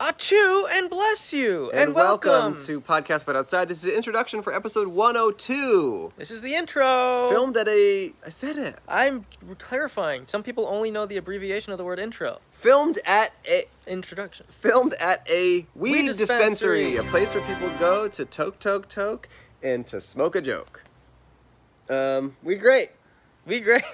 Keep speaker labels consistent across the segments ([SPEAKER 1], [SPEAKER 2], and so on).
[SPEAKER 1] Achoo and bless you and, welcome.
[SPEAKER 2] to Podcast But Outside. This is the introduction for episode 102.
[SPEAKER 1] This is the intro.
[SPEAKER 2] Filmed at a. I said it.
[SPEAKER 1] I'm clarifying. Some people only know the abbreviation of the word intro.
[SPEAKER 2] Filmed at a.
[SPEAKER 1] Introduction.
[SPEAKER 2] Filmed at a weed,
[SPEAKER 1] Weed
[SPEAKER 2] dispensary,
[SPEAKER 1] dispensary.
[SPEAKER 2] a place where people go to toke, toke, toke, and to smoke a joke. Um, we great.
[SPEAKER 1] We great.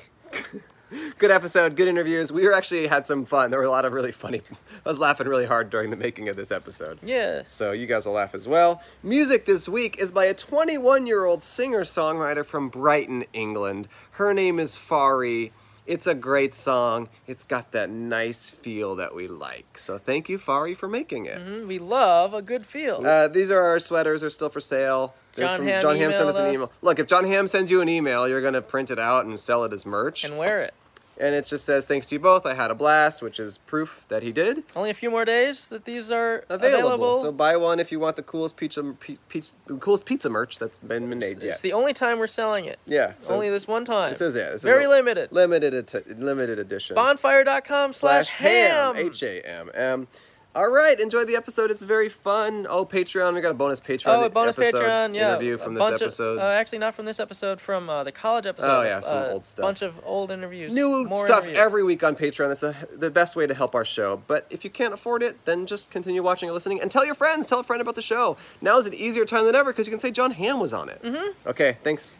[SPEAKER 2] Good episode, good interviews. We were actually had some fun. There were a lot of really funny. I was laughing really hard during the making of this episode.
[SPEAKER 1] Yeah.
[SPEAKER 2] So you guys will laugh as well. Music this week is by a 21 year old singer songwriter from Brighton, England. Her name is Fari. It's a great song. It's got that nice feel that we like. So thank you, Fari, for making it.
[SPEAKER 1] Mm, We love a good feel.
[SPEAKER 2] Uh, these are our sweaters. They're still for sale. They're
[SPEAKER 1] John
[SPEAKER 2] from-
[SPEAKER 1] Hamm
[SPEAKER 2] John Hamm sent
[SPEAKER 1] emailed
[SPEAKER 2] us an
[SPEAKER 1] us.
[SPEAKER 2] email. Look, if John Ham sends you an email, you're gonna print it out and sell it as merch.
[SPEAKER 1] and wear it.
[SPEAKER 2] and it just says, "Thanks to you both, I had a blast," which is proof that he did.
[SPEAKER 1] Only a few more days that these are
[SPEAKER 2] available.
[SPEAKER 1] available.
[SPEAKER 2] So buy one if you want the coolest pizza, pe- pizza coolest pizza merch that's been made
[SPEAKER 1] it's
[SPEAKER 2] yet.
[SPEAKER 1] the only time we're selling it.
[SPEAKER 2] yeah, so
[SPEAKER 1] only this one time.
[SPEAKER 2] This is it. This is
[SPEAKER 1] Very
[SPEAKER 2] a-
[SPEAKER 1] limited.
[SPEAKER 2] limited edi- limited edition.
[SPEAKER 1] Bonfire.com slash ham.
[SPEAKER 2] H A M M. All right, enjoy the episode. It's very fun. Oh, Patreon, we got a bonus Patreon.
[SPEAKER 1] Oh, a bonus
[SPEAKER 2] episode
[SPEAKER 1] Patreon, yeah.
[SPEAKER 2] interview
[SPEAKER 1] a
[SPEAKER 2] from this
[SPEAKER 1] bunch of-
[SPEAKER 2] episode.
[SPEAKER 1] uh, actually, not from this episode, from uh, the college episode.
[SPEAKER 2] Oh, yeah, some
[SPEAKER 1] uh,
[SPEAKER 2] old stuff.
[SPEAKER 1] Bunch of old interviews.
[SPEAKER 2] New
[SPEAKER 1] more
[SPEAKER 2] stuff
[SPEAKER 1] interviews.
[SPEAKER 2] every week on Patreon. That's the the best way to help our show. But if you can't afford it, then just continue watching and listening, and tell your friends. Tell a friend about the show. Now is an easier time than ever because you can say John Hamm was on it. Mm-hmm. Okay, thanks.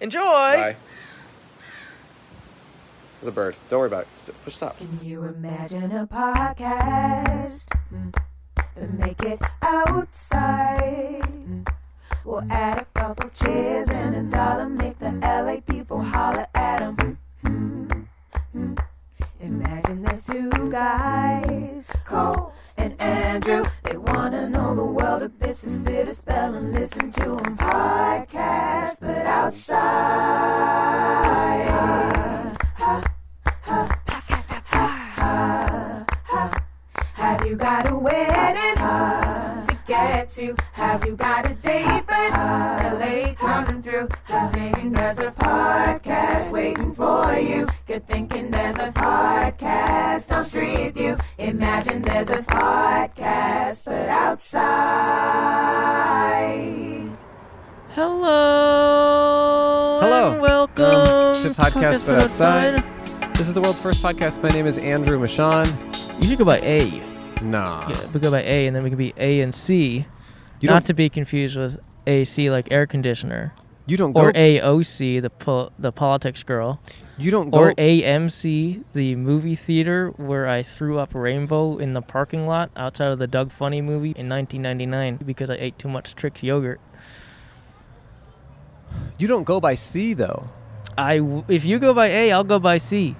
[SPEAKER 1] Enjoy.
[SPEAKER 2] Bye. There's a bird. Don't worry about it. St- push stop.
[SPEAKER 3] Can you imagine a podcast? Mm. But make it outside. Mm. We'll add a couple cheers and a dollar, make the LA people holler at 'em. Mm, mm. Imagine there's two guys, Cole and Andrew. They wanna know the world of business, city spell, and listen to 'em podcast, but outside. Podcast outside. Have you got a wedding to get to? Have you got a date? But LA coming through. Good thinking there's a podcast waiting for you. Good thinking there's a podcast on Street View. Imagine there's a podcast, but outside.
[SPEAKER 1] Hello.
[SPEAKER 2] Hello.
[SPEAKER 1] and welcome
[SPEAKER 2] to Podcast But This is the world's first podcast. My name is Andrew Michon.
[SPEAKER 1] You should go by A.
[SPEAKER 2] Nah.
[SPEAKER 1] Yeah, we go by A, and then we can be A and C.
[SPEAKER 2] You
[SPEAKER 1] not
[SPEAKER 2] don't-
[SPEAKER 1] to be confused with AC like air conditioner,
[SPEAKER 2] You don't
[SPEAKER 1] or
[SPEAKER 2] go.
[SPEAKER 1] AOC the pol- the politics girl,
[SPEAKER 2] you don't go.
[SPEAKER 1] or AMC the movie theater where I threw up rainbow in the parking lot outside of the Doug Funny movie in 1999 because I ate too much Trix yogurt.
[SPEAKER 2] you don't go by C though.
[SPEAKER 1] I w- if you go by A, I'll go by C.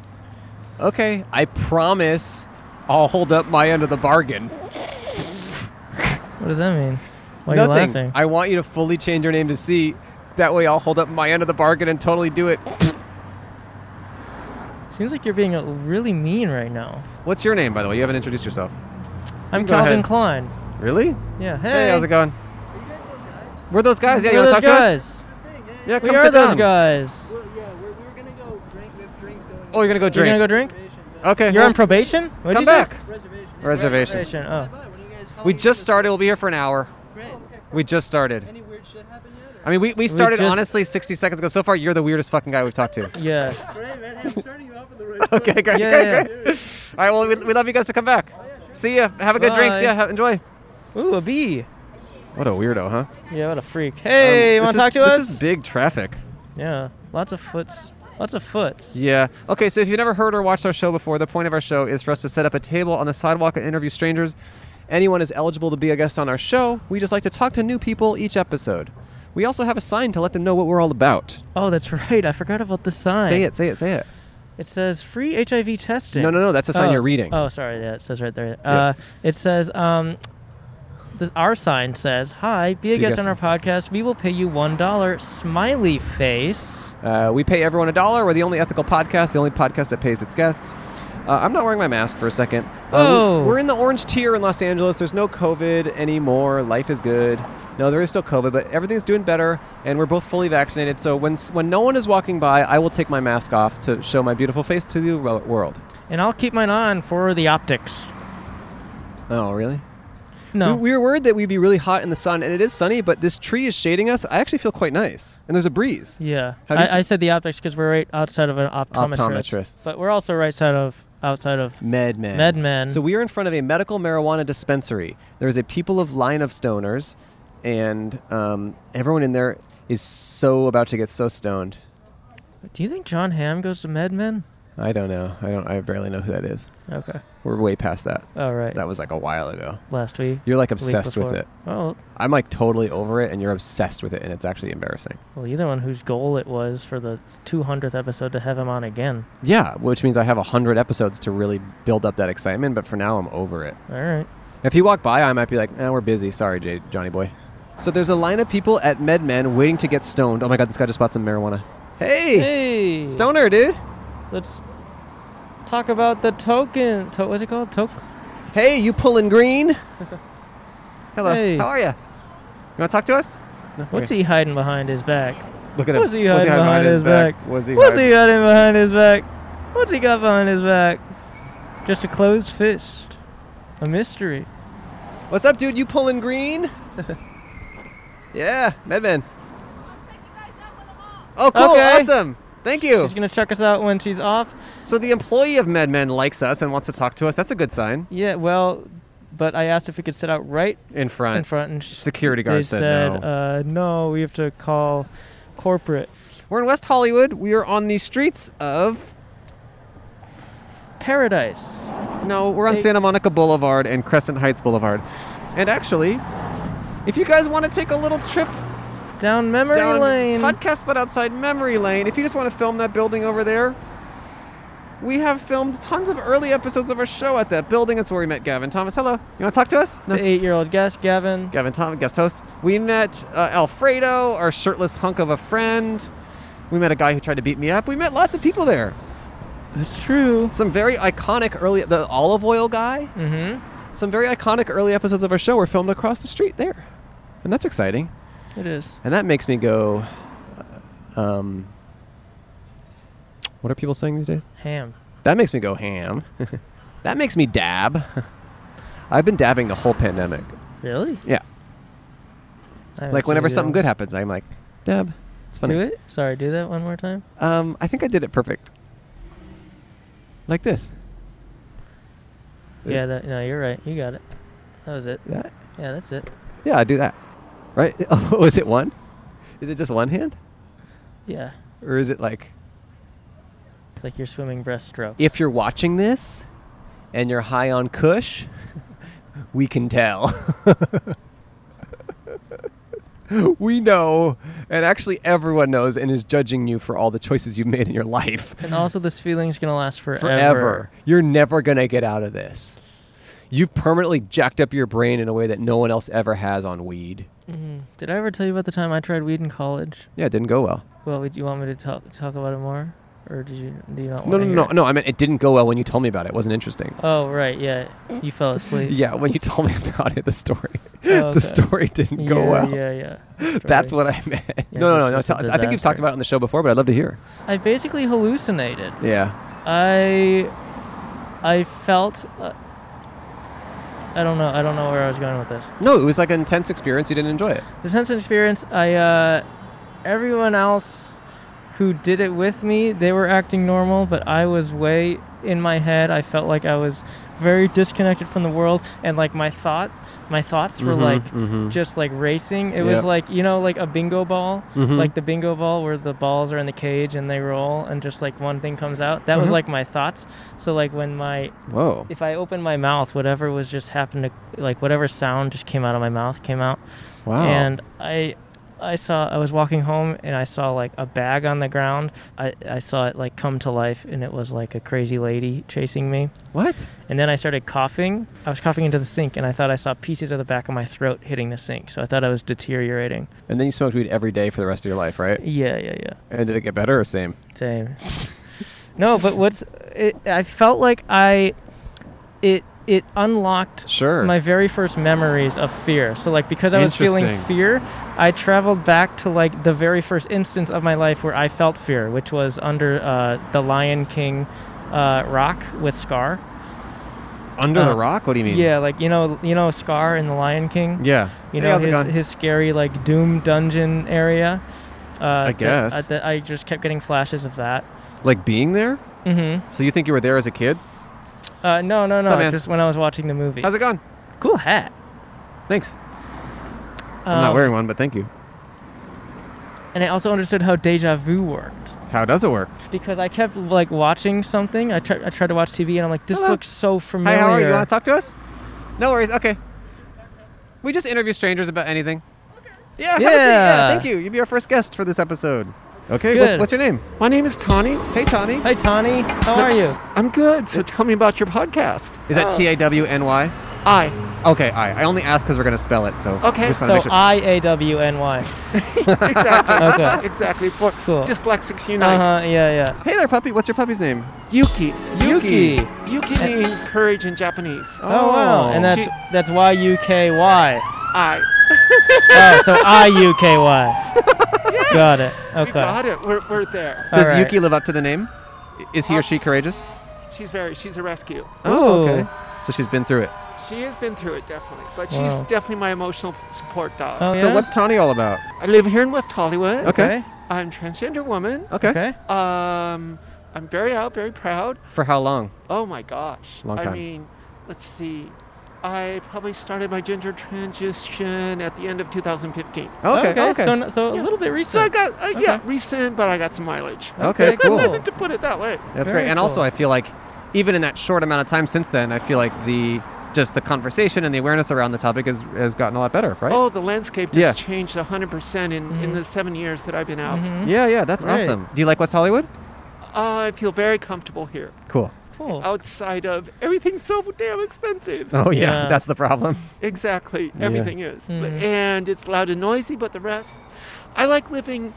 [SPEAKER 2] Okay. I promise. I'll hold up my end of the bargain.
[SPEAKER 1] What does that mean? Why are you
[SPEAKER 2] Nothing.
[SPEAKER 1] laughing?
[SPEAKER 2] I want you to fully change your name to C. That way, I'll hold up my end of the bargain and totally do it.
[SPEAKER 1] Seems like you're being uh, really mean right now.
[SPEAKER 2] What's your name, by the way? You haven't introduced yourself.
[SPEAKER 1] I'm
[SPEAKER 2] go
[SPEAKER 1] Calvin
[SPEAKER 2] ahead.
[SPEAKER 1] Klein.
[SPEAKER 2] Really?
[SPEAKER 1] Yeah. Hey.
[SPEAKER 2] Hey, how's it going? We're those guys. Yeah, you
[SPEAKER 1] We're
[SPEAKER 2] want to
[SPEAKER 1] those
[SPEAKER 2] talk
[SPEAKER 1] guys.
[SPEAKER 2] to us?
[SPEAKER 4] Yeah.
[SPEAKER 2] Yeah,
[SPEAKER 1] We
[SPEAKER 2] come
[SPEAKER 1] are
[SPEAKER 2] sit
[SPEAKER 1] those
[SPEAKER 2] down.
[SPEAKER 1] guys.
[SPEAKER 4] Well, yeah, we're, we're gonna go drink. We have drinks going.
[SPEAKER 2] Oh, you're gonna go
[SPEAKER 1] You're
[SPEAKER 2] drink.
[SPEAKER 1] gonna go drink?
[SPEAKER 2] Okay.
[SPEAKER 1] You're on probation? What'd
[SPEAKER 2] Come
[SPEAKER 1] you say?
[SPEAKER 2] back.
[SPEAKER 5] Oh.
[SPEAKER 4] Reservation.
[SPEAKER 2] Reservation.
[SPEAKER 1] Reservation, oh.
[SPEAKER 2] We just started. We'll be here for an hour.
[SPEAKER 4] Great.
[SPEAKER 2] We just started.
[SPEAKER 4] Any weird shit happen yet?
[SPEAKER 2] I mean, we, we started
[SPEAKER 1] just-
[SPEAKER 2] honestly 60 seconds ago. So far, you're the weirdest fucking guy we've talked to.
[SPEAKER 1] Yeah.
[SPEAKER 4] Or, great, man. Hey, I'm starting you off in the right.
[SPEAKER 2] Okay,
[SPEAKER 4] foot.
[SPEAKER 2] great,
[SPEAKER 1] Yeah,
[SPEAKER 2] great,
[SPEAKER 1] yeah.
[SPEAKER 2] great. All right, well, we, we love you guys to come back. See ya. Have a good drinks.
[SPEAKER 1] Bye.
[SPEAKER 2] Yeah, ha- enjoy.
[SPEAKER 1] Ooh, a bee.
[SPEAKER 2] What a weirdo, huh?
[SPEAKER 1] Yeah, what a freak. Hey,
[SPEAKER 2] Um,
[SPEAKER 1] want
[SPEAKER 2] this
[SPEAKER 1] to talk to
[SPEAKER 2] is-
[SPEAKER 1] us?
[SPEAKER 2] This is big traffic.
[SPEAKER 1] Yeah, lots of foots. Lots of foots.
[SPEAKER 2] Yeah. Okay, so if you've never heard or watched our show before, the point of our show is for us to set up a table on the sidewalk and interview strangers. Anyone is eligible to be a guest on our show. We just like to talk to new people each episode. We also have a sign to let them know what we're all about.
[SPEAKER 1] Oh, that's right. I forgot about the sign.
[SPEAKER 2] Say it, say it, say it.
[SPEAKER 1] It says free HIV testing.
[SPEAKER 2] No, no, no, that's the sign
[SPEAKER 1] Oh,
[SPEAKER 2] you're reading.
[SPEAKER 1] Oh, sorry. Yeah, it says right there. Uh, It says, um, this, our sign says, Hi, be
[SPEAKER 2] Be
[SPEAKER 1] a
[SPEAKER 2] a
[SPEAKER 1] guest
[SPEAKER 2] guest
[SPEAKER 1] on our podcast. We will pay you $1. Smiley face.
[SPEAKER 2] Uh, we pay everyone a dollar. We're the only ethical podcast, the only podcast that pays its guests. Uh, I'm not wearing my mask for a second. Uh,
[SPEAKER 1] Oh.
[SPEAKER 2] we- we're in the orange tier in Los Angeles. There's no COVID anymore. Life is good. No, there is still COVID, but everything's doing better, and we're both fully vaccinated. So when s- when no one is walking by, I will take my mask off to show my beautiful face to the wo- world.
[SPEAKER 1] And I'll keep mine on for the optics.
[SPEAKER 2] Oh, really?
[SPEAKER 1] No.
[SPEAKER 2] We, we were worried that we'd be really hot in the sun, and it is sunny, but this tree is shading us. I actually feel quite nice, and there's a breeze.
[SPEAKER 1] Yeah,
[SPEAKER 2] How do you
[SPEAKER 1] I, I said the optics because we're right outside of an optometrist,
[SPEAKER 2] Optometrists.
[SPEAKER 1] but we're also right side of outside of
[SPEAKER 2] Med men.
[SPEAKER 1] MedMen.
[SPEAKER 2] So we are in front of a medical marijuana dispensary. There is a people of line of stoners, and um, everyone in there is so about to get so stoned.
[SPEAKER 1] Do you think John Hamm goes to MedMen?
[SPEAKER 2] I don't know. I don't. I barely know who that is.
[SPEAKER 1] Okay.
[SPEAKER 2] We're way past that.
[SPEAKER 1] All right.
[SPEAKER 2] That was like a while ago.
[SPEAKER 1] Last week.
[SPEAKER 2] You're like
[SPEAKER 1] week
[SPEAKER 2] obsessed with
[SPEAKER 1] before.
[SPEAKER 2] it.
[SPEAKER 1] Oh,
[SPEAKER 2] I'm like totally over it, and you're obsessed with it, and it's actually embarrassing.
[SPEAKER 1] well, you're the one whose goal it was for the 200th episode to have him on again.
[SPEAKER 2] Yeah, which means I have a hundred episodes to really build up that excitement. But for now, I'm over it.
[SPEAKER 1] All right.
[SPEAKER 2] If he walked by, I might be like, eh, we're busy. Sorry, J- Johnny boy. So there's a line of people at MedMen waiting to get stoned. Oh my God, this guy just bought some marijuana. Hey,
[SPEAKER 1] Hey.
[SPEAKER 2] stoner, dude.
[SPEAKER 1] Let's talk about the token. To- what's it called? Token.
[SPEAKER 2] Hey, you pulling green? Hello,
[SPEAKER 1] Hey.
[SPEAKER 2] how are you? You want to talk to us? No?
[SPEAKER 1] What's
[SPEAKER 2] Okay.
[SPEAKER 1] he hiding behind his back?
[SPEAKER 2] Look at him.
[SPEAKER 1] What's he hiding behind his back?
[SPEAKER 2] What's he
[SPEAKER 1] What's
[SPEAKER 2] hiding-
[SPEAKER 1] he hiding behind his back? What's he got behind his back? Just a closed fist. A mystery.
[SPEAKER 2] What's up, dude? You pulling green? yeah, Medman. Oh, cool.
[SPEAKER 1] Okay.
[SPEAKER 2] Awesome. Thank you.
[SPEAKER 1] She's gonna check us out when she's off.
[SPEAKER 2] So the employee of MedMen likes us and wants to talk to us. That's a good sign.
[SPEAKER 1] Yeah, well, but I asked if we could sit out right
[SPEAKER 2] In front.
[SPEAKER 1] in front, and sh-
[SPEAKER 2] Security
[SPEAKER 1] they
[SPEAKER 2] guard
[SPEAKER 1] said,
[SPEAKER 2] said no.
[SPEAKER 1] Uh, "No, we have to call corporate."
[SPEAKER 2] We're in West Hollywood. We are on the streets of.
[SPEAKER 1] Paradise.
[SPEAKER 2] No, we're on
[SPEAKER 1] Hey.
[SPEAKER 2] Santa Monica Boulevard and Crescent Heights Boulevard. And actually, if you guys want to take a little trip
[SPEAKER 1] Down memory
[SPEAKER 2] down
[SPEAKER 1] lane.
[SPEAKER 2] podcast but outside memory lane, if you just want to film that building over there, we have filmed tons of early episodes of our show at that building. That's where we met Gavin Thomas. Hello. You want to talk to us?
[SPEAKER 1] The eight-year-old guest, Gavin.
[SPEAKER 2] Gavin Tom, guest host. We met uh, Alfredo, our shirtless hunk of a friend. We met a guy who tried to beat me up. We met lots of people there.
[SPEAKER 1] That's true.
[SPEAKER 2] Some very iconic early, the olive oil guy.
[SPEAKER 1] Mm-hmm.
[SPEAKER 2] Some very iconic early episodes of our show were filmed across the street there, and that's exciting.
[SPEAKER 1] It is.
[SPEAKER 2] And that makes me go, uh, um, what are people saying these days?
[SPEAKER 1] Ham.
[SPEAKER 2] That makes me go ham. that makes me dab. I've been dabbing the whole pandemic.
[SPEAKER 1] Really?
[SPEAKER 2] Yeah,
[SPEAKER 1] I haven't
[SPEAKER 2] like
[SPEAKER 1] seen
[SPEAKER 2] whenever
[SPEAKER 1] you do
[SPEAKER 2] something
[SPEAKER 1] that.
[SPEAKER 2] good happens, I'm like, dab. It's funny.
[SPEAKER 1] Do it. Sorry, do that one more time.
[SPEAKER 2] Um, I think I did it perfect. Like this.
[SPEAKER 1] Yeah. That, no, you're right. You got it. That was it.
[SPEAKER 2] That.
[SPEAKER 1] Yeah, that's it.
[SPEAKER 2] Yeah, I do that. Right? Oh, is it one? Is it just one hand,
[SPEAKER 1] Yeah.
[SPEAKER 2] or is it like?
[SPEAKER 1] It's like your swimming breaststroke.
[SPEAKER 2] If you're watching this, and you're high on Kush, we can tell. we know, and actually everyone knows, and is judging you for all the choices you've made in your life.
[SPEAKER 1] And also, this feeling's gonna last forever.
[SPEAKER 2] forever. You're never going to get out of this. You've permanently jacked up your brain in a way that no one else ever has on weed.
[SPEAKER 1] Mhm. Did I ever tell you about the time I tried weed in college?
[SPEAKER 2] Yeah, it didn't go well.
[SPEAKER 1] Well, would you want me to talk talk about it more, or did you do you not?
[SPEAKER 2] No,
[SPEAKER 1] wanna
[SPEAKER 2] no,
[SPEAKER 1] Oh, hear
[SPEAKER 2] no,
[SPEAKER 1] it?
[SPEAKER 2] no. I mean, it didn't go well when you told me about it. It wasn't interesting.
[SPEAKER 1] Oh right, yeah, you fell asleep.
[SPEAKER 2] Yeah, when you told me about it, the story,
[SPEAKER 1] Oh, okay.
[SPEAKER 2] the story didn't go
[SPEAKER 1] yeah,
[SPEAKER 2] well.
[SPEAKER 1] Yeah, yeah.
[SPEAKER 2] That's
[SPEAKER 1] Sorry.
[SPEAKER 2] what I meant.
[SPEAKER 1] Yeah,
[SPEAKER 2] no, no, no,
[SPEAKER 1] this
[SPEAKER 2] no.
[SPEAKER 1] was a
[SPEAKER 2] tell- I think you've talked
[SPEAKER 1] disaster.
[SPEAKER 2] about it on the show before, but I'd love to hear.
[SPEAKER 1] I basically hallucinated.
[SPEAKER 2] Yeah.
[SPEAKER 1] I I felt. Uh, I don't know. I don't know where I was going with this.
[SPEAKER 2] No, it was like an intense experience. You didn't enjoy it.
[SPEAKER 1] The sense and experience. I uh, everyone else who did it with me, they were acting normal, but I was way in my head. I felt like I was very disconnected from the world, and like my thought, my thoughts were
[SPEAKER 2] Mhm,
[SPEAKER 1] like
[SPEAKER 2] mhm.
[SPEAKER 1] just like racing. It was
[SPEAKER 2] Yep.
[SPEAKER 1] like you know, like a bingo ball,
[SPEAKER 2] Mhm.
[SPEAKER 1] like the bingo ball where the balls are in the cage and they roll, and just like one thing comes out. That was
[SPEAKER 2] Mhm.
[SPEAKER 1] like my thoughts. So like when my
[SPEAKER 2] Whoa.
[SPEAKER 1] if I opened my mouth, whatever was just happened to like whatever sound just came out of my mouth came out.
[SPEAKER 2] Wow.
[SPEAKER 1] And I I saw I was walking home and I saw like a bag on the ground. I, I saw it like come to life and it was like a crazy lady chasing me.
[SPEAKER 2] what?
[SPEAKER 1] And then I started coughing. I was coughing into the sink and I thought I saw pieces of the back of my throat hitting the sink. So I thought I was deteriorating.
[SPEAKER 2] And then you smoked weed every day for the rest of your life, right?
[SPEAKER 1] Yeah, yeah, yeah.
[SPEAKER 2] And did it get better or same?
[SPEAKER 1] Same. no, but what's it, I felt like I it it unlocked
[SPEAKER 2] Sure.
[SPEAKER 1] my very first memories of fear. So like because I was feeling
[SPEAKER 2] Interesting.
[SPEAKER 1] fear, I traveled back to like the very first instance of my life where I felt fear, which was under uh, the Lion King uh, rock with Scar.
[SPEAKER 2] Under the
[SPEAKER 1] Uh,
[SPEAKER 2] Rock? What do you mean?
[SPEAKER 1] Yeah, like you know, you know, Scar in The Lion King.
[SPEAKER 2] Yeah.
[SPEAKER 1] You
[SPEAKER 2] Hey,
[SPEAKER 1] know
[SPEAKER 2] how's it
[SPEAKER 1] his
[SPEAKER 2] going?
[SPEAKER 1] his scary like doom dungeon area. Uh, I
[SPEAKER 2] guess.
[SPEAKER 1] I, that I just kept getting flashes of that.
[SPEAKER 2] like being there.
[SPEAKER 1] Mm-hmm.
[SPEAKER 2] So you think you were there as a kid?
[SPEAKER 1] Uh, no, no,
[SPEAKER 2] up,
[SPEAKER 1] no.
[SPEAKER 2] man?
[SPEAKER 1] Just when I was watching the movie.
[SPEAKER 2] How's it gone?
[SPEAKER 1] cool hat.
[SPEAKER 2] Thanks. I'm not
[SPEAKER 1] Um,
[SPEAKER 2] wearing one, but thank you.
[SPEAKER 1] And I also understood how deja vu worked.
[SPEAKER 2] How does it work?
[SPEAKER 1] because I kept like watching something. I tried I tried to watch TV and I'm like, this
[SPEAKER 2] Hello.
[SPEAKER 1] looks so familiar.
[SPEAKER 2] Hi, how are you? You want to talk to us? No worries. Okay. We just interview strangers about anything. Okay. Yeah. have a seat.
[SPEAKER 1] Yeah.
[SPEAKER 2] yeah. Thank you. You'd be our first guest for this episode. Okay. What's,
[SPEAKER 1] Good.
[SPEAKER 2] what's your name?
[SPEAKER 6] My name is Tawny.
[SPEAKER 2] Hey, Tawny.
[SPEAKER 1] Hi, Tawny. How are you?
[SPEAKER 6] I'm good. So tell me about your podcast.
[SPEAKER 2] Is that T A W N Y?
[SPEAKER 6] I.
[SPEAKER 2] Okay. Uh, I I only ask because we're gonna spell it. So.
[SPEAKER 6] Okay.
[SPEAKER 2] we just wanna
[SPEAKER 1] So
[SPEAKER 2] make sure-
[SPEAKER 1] I A W N Y.
[SPEAKER 6] Exactly.
[SPEAKER 1] Okay.
[SPEAKER 6] Exactly. For
[SPEAKER 1] Cool.
[SPEAKER 6] Dyslexics
[SPEAKER 1] Uh
[SPEAKER 6] Unite.
[SPEAKER 1] huh. Yeah,
[SPEAKER 2] hey there, puppy. What's your puppy's name?
[SPEAKER 6] Yuki.
[SPEAKER 1] yeah. Yuki.
[SPEAKER 6] Yuki means courage in Japanese.
[SPEAKER 1] Oh, wow. And that's
[SPEAKER 6] She-
[SPEAKER 1] that's Y U K Y.
[SPEAKER 6] I.
[SPEAKER 1] Oh, so I U K Y. Got it.
[SPEAKER 6] We
[SPEAKER 1] Okay.
[SPEAKER 6] got it. We're, we're there.
[SPEAKER 1] All
[SPEAKER 2] Does
[SPEAKER 1] right.
[SPEAKER 2] Yuki live up to the name? I- Is he or she courageous?
[SPEAKER 6] She's very. She's a rescue.
[SPEAKER 2] oh,
[SPEAKER 1] Ooh.
[SPEAKER 2] So she's been through it.
[SPEAKER 6] She has been through it definitely, but she's
[SPEAKER 1] Wow.
[SPEAKER 6] definitely my emotional support dog.
[SPEAKER 1] Oh,
[SPEAKER 2] So
[SPEAKER 1] yeah?
[SPEAKER 2] what's Tawny all about?
[SPEAKER 6] I live here in West Hollywood.
[SPEAKER 2] Okay.
[SPEAKER 1] Okay.
[SPEAKER 6] I'm transgender woman.
[SPEAKER 2] Okay.
[SPEAKER 1] Okay.
[SPEAKER 6] Um, I'm very out, very proud.
[SPEAKER 2] For how long?
[SPEAKER 6] Oh my gosh.
[SPEAKER 2] Long
[SPEAKER 6] I
[SPEAKER 2] time.
[SPEAKER 6] mean, let's see. I probably started my gender transition at the end of 2015.
[SPEAKER 2] Okay. Okay.
[SPEAKER 1] So n- so a
[SPEAKER 6] Yeah.
[SPEAKER 1] little bit recent.
[SPEAKER 6] So I got, uh, yeah,
[SPEAKER 1] Okay.
[SPEAKER 6] recent, but I got some mileage.
[SPEAKER 2] Okay, cool.
[SPEAKER 6] to put it that way.
[SPEAKER 2] That's
[SPEAKER 1] Very
[SPEAKER 2] great. And also,
[SPEAKER 1] cool.
[SPEAKER 2] I feel like even in that short amount of time since then, I feel like the just the conversation and the awareness around the topic has, has gotten a lot better, right?
[SPEAKER 6] Oh, the landscape just
[SPEAKER 2] Yeah. Mm-hmm.
[SPEAKER 6] changed 100% in, in
[SPEAKER 1] Mhm.
[SPEAKER 6] the seven years that I've been out.
[SPEAKER 1] Mhm.
[SPEAKER 2] Yeah, yeah, that's
[SPEAKER 1] Right.
[SPEAKER 2] awesome. Do you like West Hollywood?
[SPEAKER 6] I feel very comfortable here.
[SPEAKER 2] Cool.
[SPEAKER 1] Cool.
[SPEAKER 6] Oh. Outside of everything's so damn expensive.
[SPEAKER 2] Oh yeah,
[SPEAKER 1] Yeah.
[SPEAKER 2] that's the problem.
[SPEAKER 6] Exactly.
[SPEAKER 2] Yeah. Mm-hmm.
[SPEAKER 6] Everything is. But-
[SPEAKER 1] Mhm.
[SPEAKER 6] And it's loud and noisy, but the rest. I like living.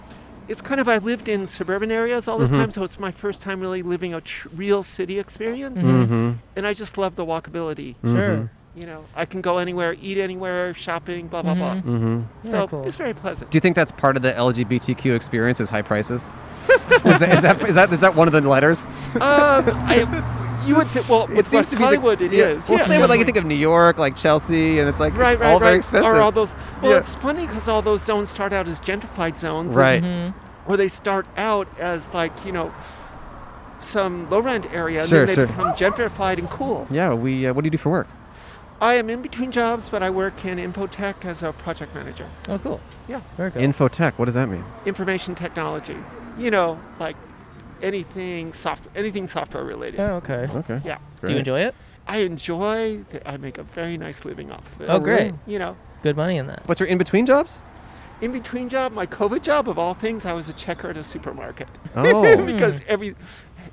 [SPEAKER 6] It's kind of, I lived in suburban areas all this
[SPEAKER 2] Mm-hmm.
[SPEAKER 6] time, so it's my first time really living a tr- real city experience.
[SPEAKER 2] Mm-hmm. Mm.
[SPEAKER 6] And I just love the walkability.
[SPEAKER 1] Sure.
[SPEAKER 6] You know, I can go anywhere, eat anywhere, shopping, blah, blah, blah.
[SPEAKER 2] Mm-hmm.
[SPEAKER 6] So
[SPEAKER 1] Very cool.
[SPEAKER 6] it's very pleasant.
[SPEAKER 2] Do you think that's part of the LGBTQ experience? Is high prices? is, that, is that is that is that one of the letters?
[SPEAKER 6] um, I, you would think, well, with West Hollywood, it is.
[SPEAKER 2] Well, same with like
[SPEAKER 6] definitely.
[SPEAKER 2] you think of New York, like Chelsea, and it's like
[SPEAKER 6] Right,
[SPEAKER 2] it's
[SPEAKER 6] right,
[SPEAKER 2] all
[SPEAKER 6] right.
[SPEAKER 2] very expensive.
[SPEAKER 6] Or all those. Well,
[SPEAKER 2] Yeah.
[SPEAKER 6] it's funny because all those zones start out as gentrified zones. that
[SPEAKER 2] right.
[SPEAKER 1] Mhm.
[SPEAKER 6] or they start out as like you know some low rent area
[SPEAKER 2] Sure,
[SPEAKER 6] and then they
[SPEAKER 2] sure.
[SPEAKER 6] become gentrified and cool
[SPEAKER 2] Yeah. We. Uh, what do you do for work?
[SPEAKER 6] i am in between jobs but i work in infotech as a project manager
[SPEAKER 1] Oh, cool.
[SPEAKER 6] yeah
[SPEAKER 1] Very cool.
[SPEAKER 2] Infotech. What does that mean?
[SPEAKER 6] information technology you know like anything soft anything software related
[SPEAKER 1] oh, okay.
[SPEAKER 2] Okay.
[SPEAKER 6] yeah
[SPEAKER 1] Do you enjoy it?
[SPEAKER 6] i enjoy that i make a very nice living off of it
[SPEAKER 1] Oh, great.
[SPEAKER 6] you know
[SPEAKER 1] Good money in that.
[SPEAKER 2] What's your in between jobs?
[SPEAKER 6] in between job my covid job of all things i was a checker at a supermarket
[SPEAKER 2] Oh.
[SPEAKER 6] because every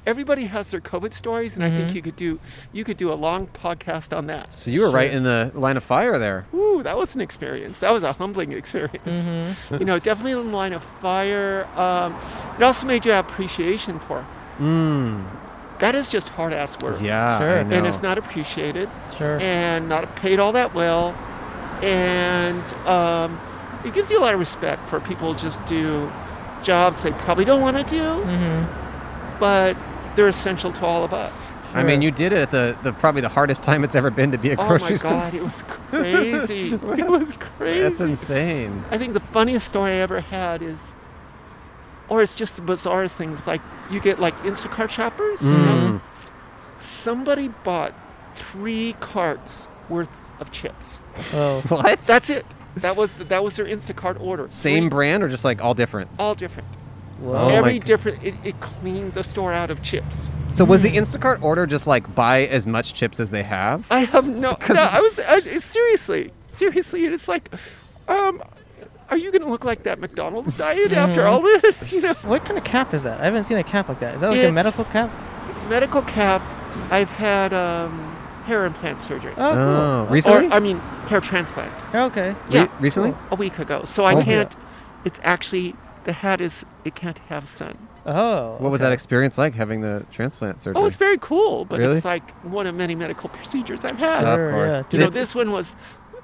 [SPEAKER 6] everybody has their COVID stories, and I
[SPEAKER 2] Mm-hmm.
[SPEAKER 6] think you could do you could do a long podcast on that.
[SPEAKER 2] so you were right in the line of fire there.
[SPEAKER 6] Ooh, that was an experience. That was a humbling experience.
[SPEAKER 2] Mm-hmm.
[SPEAKER 1] Mm-hmm.
[SPEAKER 6] You know, definitely in the line of fire. Um, it also made you have appreciation for.
[SPEAKER 2] Mm.
[SPEAKER 6] That is just hard ass work,
[SPEAKER 2] Yeah.
[SPEAKER 1] Sure.
[SPEAKER 2] I
[SPEAKER 1] And
[SPEAKER 6] and
[SPEAKER 2] know.
[SPEAKER 6] it's not appreciated,
[SPEAKER 1] Sure.
[SPEAKER 6] and not paid all that well, and um, it gives you a lot of respect for people who just do jobs they probably don't want to do,
[SPEAKER 2] Mm-hmm.
[SPEAKER 6] but they're essential to all of us.
[SPEAKER 2] I mean, you did it at the, the probably the hardest time it's ever been to be a
[SPEAKER 6] Oh
[SPEAKER 2] grocery
[SPEAKER 6] my
[SPEAKER 2] store.
[SPEAKER 6] god, it was crazy. it was
[SPEAKER 2] That's
[SPEAKER 6] crazy.
[SPEAKER 2] insane.
[SPEAKER 6] I think the funniest story I ever had is, or it's just the bizarre things like you get like Instacart shoppers. you know?
[SPEAKER 2] Mm.
[SPEAKER 6] Somebody bought three carts worth of chips.
[SPEAKER 1] Oh.
[SPEAKER 2] What?
[SPEAKER 6] That's it. That was that was their Instacart order.
[SPEAKER 2] Same
[SPEAKER 6] Three,
[SPEAKER 2] brand or just like all different?
[SPEAKER 6] all different.
[SPEAKER 1] Whoa.
[SPEAKER 2] Oh my
[SPEAKER 6] Every
[SPEAKER 2] g-
[SPEAKER 6] different. It, it cleaned the store out of chips.
[SPEAKER 2] So was the Instacart order just like buy as much chips as they have?
[SPEAKER 6] I have no. no I was I, seriously, seriously. It's like, um, are you going to look like that McDonald's diet
[SPEAKER 2] Mm-hmm.
[SPEAKER 6] after all this? You know,
[SPEAKER 1] What kind of cap is that? I haven't seen a cap like that. Is that like a
[SPEAKER 6] It's-
[SPEAKER 1] medical cap?
[SPEAKER 6] medical cap. I've had um, hair implant surgery.
[SPEAKER 1] Oh, cool.
[SPEAKER 2] Oh, recently?
[SPEAKER 6] Or I mean, hair transplant.
[SPEAKER 1] Oh, okay.
[SPEAKER 2] Re-
[SPEAKER 6] Yeah,
[SPEAKER 2] recently?
[SPEAKER 6] a week ago. So I
[SPEAKER 2] Oh.
[SPEAKER 6] can't. It's actually the hat is it can't have sun.
[SPEAKER 1] Oh.
[SPEAKER 2] What was that experience like having the transplant surgery?
[SPEAKER 6] Oh, it's very cool, but
[SPEAKER 2] Really?
[SPEAKER 6] it's like one of many medical procedures I've had.
[SPEAKER 2] Of
[SPEAKER 1] Sure,
[SPEAKER 2] course.
[SPEAKER 1] yeah.
[SPEAKER 6] You
[SPEAKER 1] Did
[SPEAKER 6] know,
[SPEAKER 1] it-
[SPEAKER 6] this one was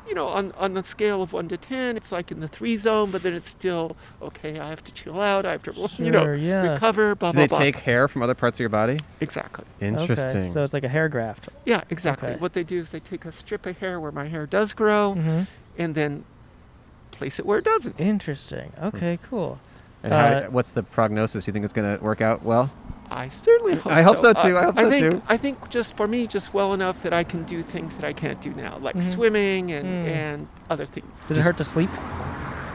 [SPEAKER 6] you know, on, on the scale of one to 10, it's like in the three zone, but then it's still, okay, I have to chill out. I have to, you know,
[SPEAKER 1] Sure, yeah.
[SPEAKER 6] recover, blah,
[SPEAKER 2] Do
[SPEAKER 6] blah,
[SPEAKER 2] they
[SPEAKER 6] blah.
[SPEAKER 2] take hair from other parts of your body?
[SPEAKER 6] Exactly.
[SPEAKER 2] Interesting.
[SPEAKER 1] Okay, so it's like a hair graft.
[SPEAKER 6] Yeah, exactly.
[SPEAKER 1] Okay.
[SPEAKER 6] What they do is they take a strip of hair where my hair does grow
[SPEAKER 2] Mm-hmm.
[SPEAKER 1] hmm
[SPEAKER 6] and then place it where it doesn't.
[SPEAKER 1] Interesting. Okay, cool.
[SPEAKER 2] and how,
[SPEAKER 1] uh,
[SPEAKER 2] what's the prognosis? You think it's going to work out well?
[SPEAKER 6] I certainly hope
[SPEAKER 2] I hope
[SPEAKER 6] so.
[SPEAKER 2] so, too. I hope so,
[SPEAKER 6] think,
[SPEAKER 2] too.
[SPEAKER 6] I think just for me, just well enough that I can do things that I can't do now, like
[SPEAKER 2] Mm-hmm.
[SPEAKER 1] Mhm.
[SPEAKER 6] swimming and,
[SPEAKER 1] Mm.
[SPEAKER 6] and other things.
[SPEAKER 1] Does it hurt to sleep?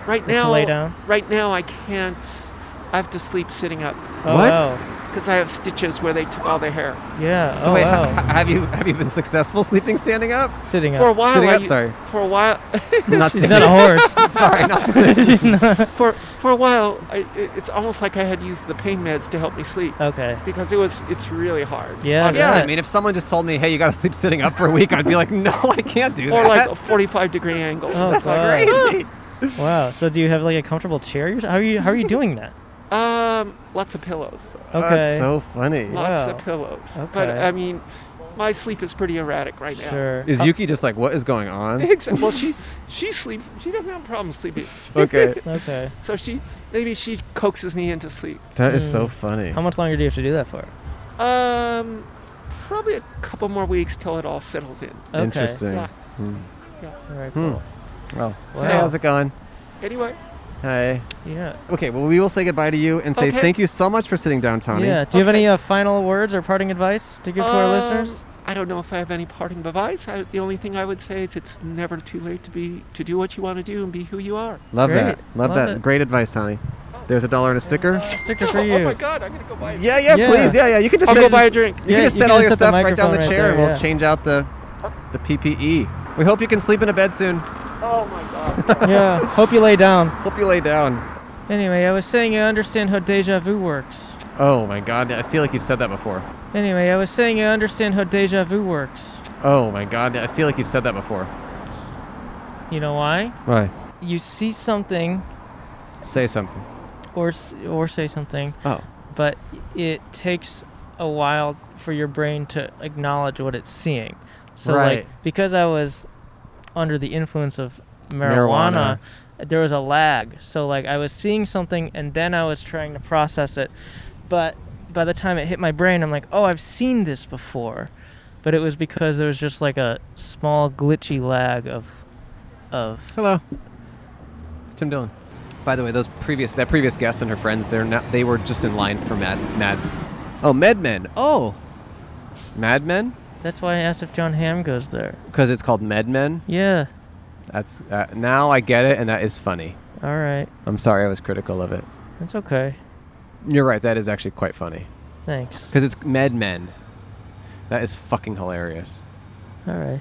[SPEAKER 6] Right
[SPEAKER 1] Or
[SPEAKER 6] now,
[SPEAKER 1] to lay down?
[SPEAKER 6] right now I can't. I have to sleep sitting up
[SPEAKER 1] Oh,
[SPEAKER 2] What?
[SPEAKER 1] wow.
[SPEAKER 6] because I have stitches where they took all the hair.
[SPEAKER 1] Yeah.
[SPEAKER 2] So
[SPEAKER 1] oh,
[SPEAKER 2] wait, h-
[SPEAKER 1] wow.
[SPEAKER 2] h- have you have you been successful sleeping standing up?
[SPEAKER 1] Sitting
[SPEAKER 6] For a
[SPEAKER 1] up.
[SPEAKER 6] while,
[SPEAKER 2] Sitting
[SPEAKER 6] I
[SPEAKER 2] up,
[SPEAKER 6] u-
[SPEAKER 2] sorry.
[SPEAKER 6] For a while,
[SPEAKER 2] Not
[SPEAKER 1] Oh, She's
[SPEAKER 2] standing
[SPEAKER 1] not a
[SPEAKER 2] up.
[SPEAKER 1] horse.
[SPEAKER 2] Sorry, not sitting.
[SPEAKER 1] She's not-
[SPEAKER 6] for for a while, I, it- it's almost like I had used the pain meds to help me sleep
[SPEAKER 1] okay.
[SPEAKER 6] because it was it's really hard.
[SPEAKER 1] Uh. Yeah,
[SPEAKER 6] honestly.
[SPEAKER 2] Yeah,
[SPEAKER 1] Yeah.
[SPEAKER 2] I mean, if someone just told me, "Hey, you got to sleep sitting up for a week," I'd be like, "No, I can't do
[SPEAKER 6] Or like
[SPEAKER 2] that."
[SPEAKER 6] a 45 degree angle.
[SPEAKER 1] Oh,
[SPEAKER 2] That's
[SPEAKER 1] God.
[SPEAKER 2] crazy.
[SPEAKER 1] Wow. So do you have like a comfortable chair? You're- How are you? How are you doing that?
[SPEAKER 6] Um, lots of pillows.
[SPEAKER 1] Okay.
[SPEAKER 2] That's Uh, so funny.
[SPEAKER 6] Lots
[SPEAKER 1] Wow.
[SPEAKER 6] of pillows. But
[SPEAKER 1] Okay.
[SPEAKER 6] I mean, my sleep is pretty erratic right now.
[SPEAKER 1] sure.
[SPEAKER 2] Is
[SPEAKER 1] Uh,
[SPEAKER 2] Yuki just like, "What is going on?"
[SPEAKER 6] Except, well, she she sleeps. She doesn't have problems sleeping.
[SPEAKER 2] okay,
[SPEAKER 1] okay.
[SPEAKER 6] So she maybe she coaxes me into sleep.
[SPEAKER 2] that is so
[SPEAKER 1] Hmm.
[SPEAKER 2] funny.
[SPEAKER 1] How much longer do you have to do that for?
[SPEAKER 6] Um, probably a couple more weeks till it all settles in.
[SPEAKER 1] Okay.
[SPEAKER 2] Interesting.
[SPEAKER 6] Yeah.
[SPEAKER 2] Hmm.
[SPEAKER 1] All right.
[SPEAKER 2] Hmm.
[SPEAKER 1] Cool.
[SPEAKER 2] Well,
[SPEAKER 1] Wow.
[SPEAKER 2] so how's it going?
[SPEAKER 6] Anyway,
[SPEAKER 2] Hi.
[SPEAKER 1] Yeah.
[SPEAKER 2] Okay, well, we will say goodbye to you and say
[SPEAKER 6] Okay.
[SPEAKER 2] thank you so much for sitting down, Tony.
[SPEAKER 1] Yeah. Do you have any
[SPEAKER 6] Okay.
[SPEAKER 1] uh, final words or parting advice to give to our
[SPEAKER 6] um,
[SPEAKER 1] listeners?
[SPEAKER 6] I don't know if I have any parting advice. I, the only thing I would say is it's never too late to be to do what you want to do and be who you are.
[SPEAKER 2] Love
[SPEAKER 1] Great.
[SPEAKER 2] that. Love,
[SPEAKER 1] Love
[SPEAKER 2] that.
[SPEAKER 1] it.
[SPEAKER 2] Great advice, Tony. There's a dollar and a sticker.
[SPEAKER 1] Sticker for
[SPEAKER 6] Oh
[SPEAKER 1] you.
[SPEAKER 6] my God! I'm gonna go buy. a-
[SPEAKER 2] Yeah, yeah,
[SPEAKER 1] Yeah.
[SPEAKER 2] please. Yeah, yeah. You can just
[SPEAKER 6] I'll
[SPEAKER 2] set-
[SPEAKER 6] go buy a drink.
[SPEAKER 2] You
[SPEAKER 1] Yeah,
[SPEAKER 2] can just
[SPEAKER 1] you
[SPEAKER 2] set
[SPEAKER 1] can
[SPEAKER 2] all
[SPEAKER 1] just
[SPEAKER 2] your
[SPEAKER 1] set the
[SPEAKER 2] stuff right down the
[SPEAKER 1] microphone right
[SPEAKER 2] chair, and
[SPEAKER 1] there,
[SPEAKER 2] we'll
[SPEAKER 1] yeah.
[SPEAKER 2] change out the the PPE. We hope you can sleep in a bed soon.
[SPEAKER 6] Oh my God!
[SPEAKER 1] yeah. Hope you lay down.
[SPEAKER 2] Hope you lay down.
[SPEAKER 1] Anyway, I was saying I understand how deja vu works.
[SPEAKER 2] Oh my God, I feel like you've said that before.
[SPEAKER 1] Anyway, I was saying I understand how deja vu works.
[SPEAKER 2] Oh my God, I feel like you've said that before.
[SPEAKER 1] You know why?
[SPEAKER 2] Why?
[SPEAKER 1] You see something
[SPEAKER 2] Say something.
[SPEAKER 1] or s- or say something,
[SPEAKER 2] Oh.
[SPEAKER 1] but it takes a while for your brain to acknowledge what it's seeing. So
[SPEAKER 2] Right.
[SPEAKER 1] like because I was under the influence of
[SPEAKER 2] Marijuana.
[SPEAKER 1] marijuana, there was a lag. So like I was seeing something and then I was trying to process it. But by the time it hit my brain, I'm like, "Oh, I've seen this before." But it was because there was just like a small glitchy lag of of
[SPEAKER 2] Hello. It's Tim Dillon. By the way, those previous that previous guest and her friends, they're not they were just in line for Mad Mad Oh, Mad Men. Oh. Mad Men?
[SPEAKER 1] That's why I asked if John Hamm goes there.
[SPEAKER 2] Because it's called Med Men.
[SPEAKER 1] Yeah.
[SPEAKER 2] That's uh, now I get it and that is funny.
[SPEAKER 1] All right.
[SPEAKER 2] I'm sorry I was critical of it.
[SPEAKER 1] That's okay.
[SPEAKER 2] You're right, that is actually quite funny.
[SPEAKER 1] Thanks.
[SPEAKER 2] Because it's Med Men. That is fucking hilarious.
[SPEAKER 1] All right.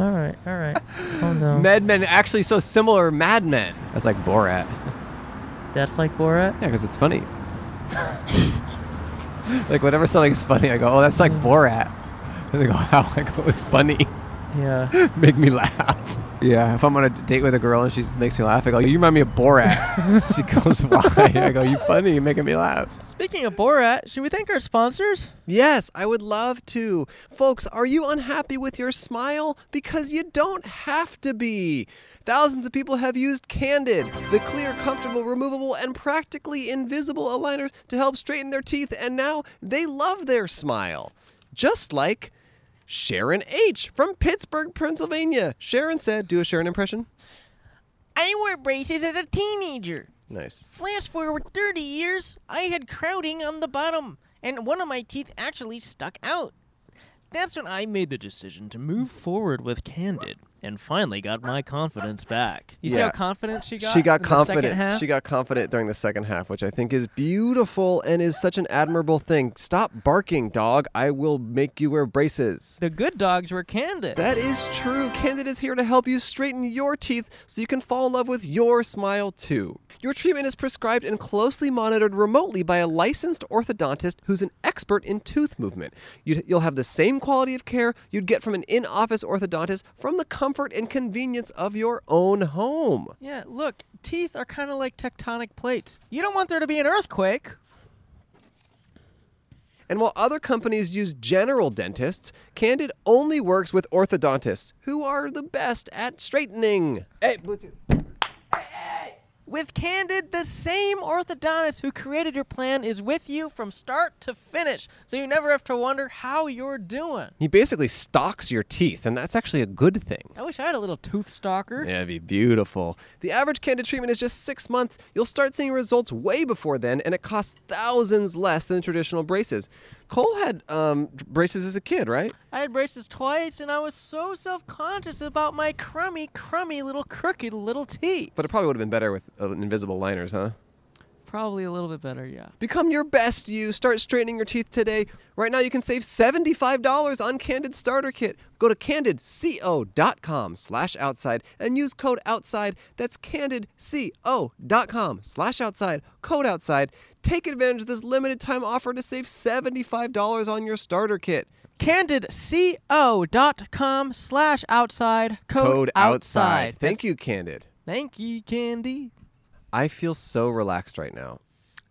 [SPEAKER 1] all right. All right. Oh no.
[SPEAKER 2] Med Men actually so similar to Mad Men. That's like Borat.
[SPEAKER 1] That's like Borat.
[SPEAKER 2] Yeah, because it's funny. like whenever something's funny, I go, "Oh, that's like Borat," and they go, "How?" I go, "It's funny.
[SPEAKER 1] Yeah.
[SPEAKER 2] Make me laugh." Yeah, if I'm on a date with a girl and she makes me laugh, I go, "You remind me of Borat." she goes, "Why?" I go, "You funny. You're making me laugh."
[SPEAKER 1] Speaking of Borat, should we thank our sponsors?
[SPEAKER 2] Yes, I would love to. Folks, are you unhappy with your smile? Because you don't have to be. Thousands of people have used Candid, the clear, comfortable, removable, and practically invisible aligners to help straighten their teeth, and now they love their smile. Just like Sharon H. from Pittsburgh, Pennsylvania. Sharon said, Do a Sharon impression.
[SPEAKER 5] I wore braces as a teenager.
[SPEAKER 2] Nice.
[SPEAKER 5] Flash forward 30 years, I had crowding on the bottom, and one of my teeth actually stuck out.
[SPEAKER 1] That's when I made the decision to move forward with Candid and finally got my confidence back. You see
[SPEAKER 2] Yeah.
[SPEAKER 1] how confident she got?
[SPEAKER 2] She got
[SPEAKER 1] in the second
[SPEAKER 2] confident.
[SPEAKER 1] half?
[SPEAKER 2] She got confident during the second half, which I think is beautiful and is such an admirable thing. Stop barking, dog. I will make you wear braces.
[SPEAKER 1] The good dogs were Candid.
[SPEAKER 2] That is true. Candid is here to help you straighten your teeth so you can fall in love with your smile too. Your treatment is prescribed and closely monitored remotely by a licensed orthodontist who's an expert in tooth movement. You'd, you'll have the same quality of care you'd get from an in office orthodontist from the comfort and convenience of your own home.
[SPEAKER 1] yeah. Look, teeth are kind of like tectonic plates. You don't want there to be an earthquake.
[SPEAKER 2] And while other companies use general dentists, Candid only works with orthodontists, who are the best at straightening. Hey, Bluetooth.
[SPEAKER 5] With Candid, the same orthodontist who created your plan is with you from start to finish, so you never have to wonder how you're doing.
[SPEAKER 2] He basically stalks your teeth, and that's actually a good thing.
[SPEAKER 5] I wish I had a little tooth stalker.
[SPEAKER 2] Yeah, it'd be beautiful. The average candid treatment is just six months. You'll start seeing results way before then, and it costs thousands less than traditional braces. Cole had um, d- braces as a kid, right?
[SPEAKER 5] I had braces twice, and I was so self conscious about my crummy, crummy little crooked little teeth.
[SPEAKER 2] But it probably would have been better with uh, invisible liners, huh?
[SPEAKER 5] Probably a little bit better, yeah.
[SPEAKER 2] Become your best you. Start straightening your teeth today. Right now, you can save $75 on Candid Starter Kit. Go to candidco.com slash outside and use code outside. That's candidco.com slash outside, code outside. Take advantage of this limited time offer to save $75 on your starter kit.
[SPEAKER 5] CandidCO.com slash outside code, outside.
[SPEAKER 2] Thank you, Candid.
[SPEAKER 5] Thank you, Candy.
[SPEAKER 2] I feel so relaxed right now.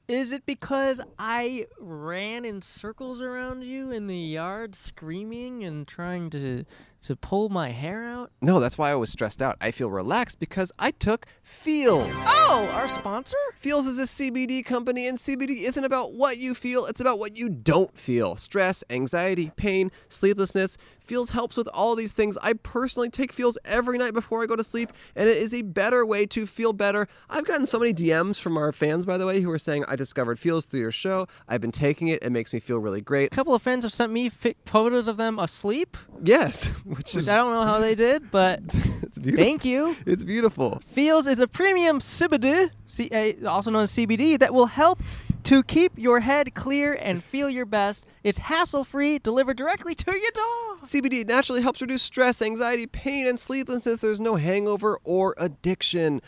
[SPEAKER 5] Is it because I ran in circles around you in the yard screaming and trying to to pull my hair out?
[SPEAKER 2] No, that's why I was stressed out. I feel relaxed because I took feels.
[SPEAKER 5] Oh, our sponsor?
[SPEAKER 2] Feels is a CBD company, and CBD isn't about what you feel, it's about what you don't feel. Stress, anxiety, pain, sleeplessness. Feels helps with all these things. I personally take Feels every night before I go to sleep, and it is a better way to feel better. I've gotten so many DMs from our fans, by the way, who are saying, I discovered Feels through your show. I've been taking it, it makes me feel really great.
[SPEAKER 5] A couple of fans have sent me fi- photos of them asleep,
[SPEAKER 2] Yes, which
[SPEAKER 5] which
[SPEAKER 2] is
[SPEAKER 5] I don't know how they did, but
[SPEAKER 2] it's beautiful.
[SPEAKER 5] thank you.
[SPEAKER 2] It's beautiful.
[SPEAKER 5] Feels is a premium CBD, C- uh, also known as CBD, that will help to keep your head clear and feel your best. It's hassle free, delivered directly to your door.
[SPEAKER 2] CBD naturally helps reduce stress, anxiety, pain, and sleeplessness. There's no hangover or addiction.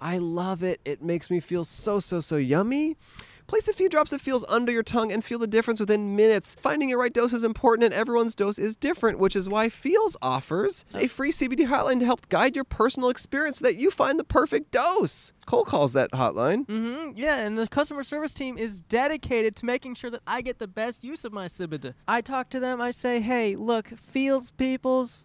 [SPEAKER 2] I love it. It makes me feel so, so, so yummy. Place a few drops of feels under your tongue and feel the difference within minutes. Finding your right dose is important, and everyone's dose is different, which is why Feels offers a free CBD hotline to help guide your personal experience so that you find the perfect dose. Cole calls that hotline.
[SPEAKER 5] Mm, Yeah, and the customer service team is dedicated to making sure that I get the best use of my CBD. I talk to them, I say, "Hey, look, Feels peoples,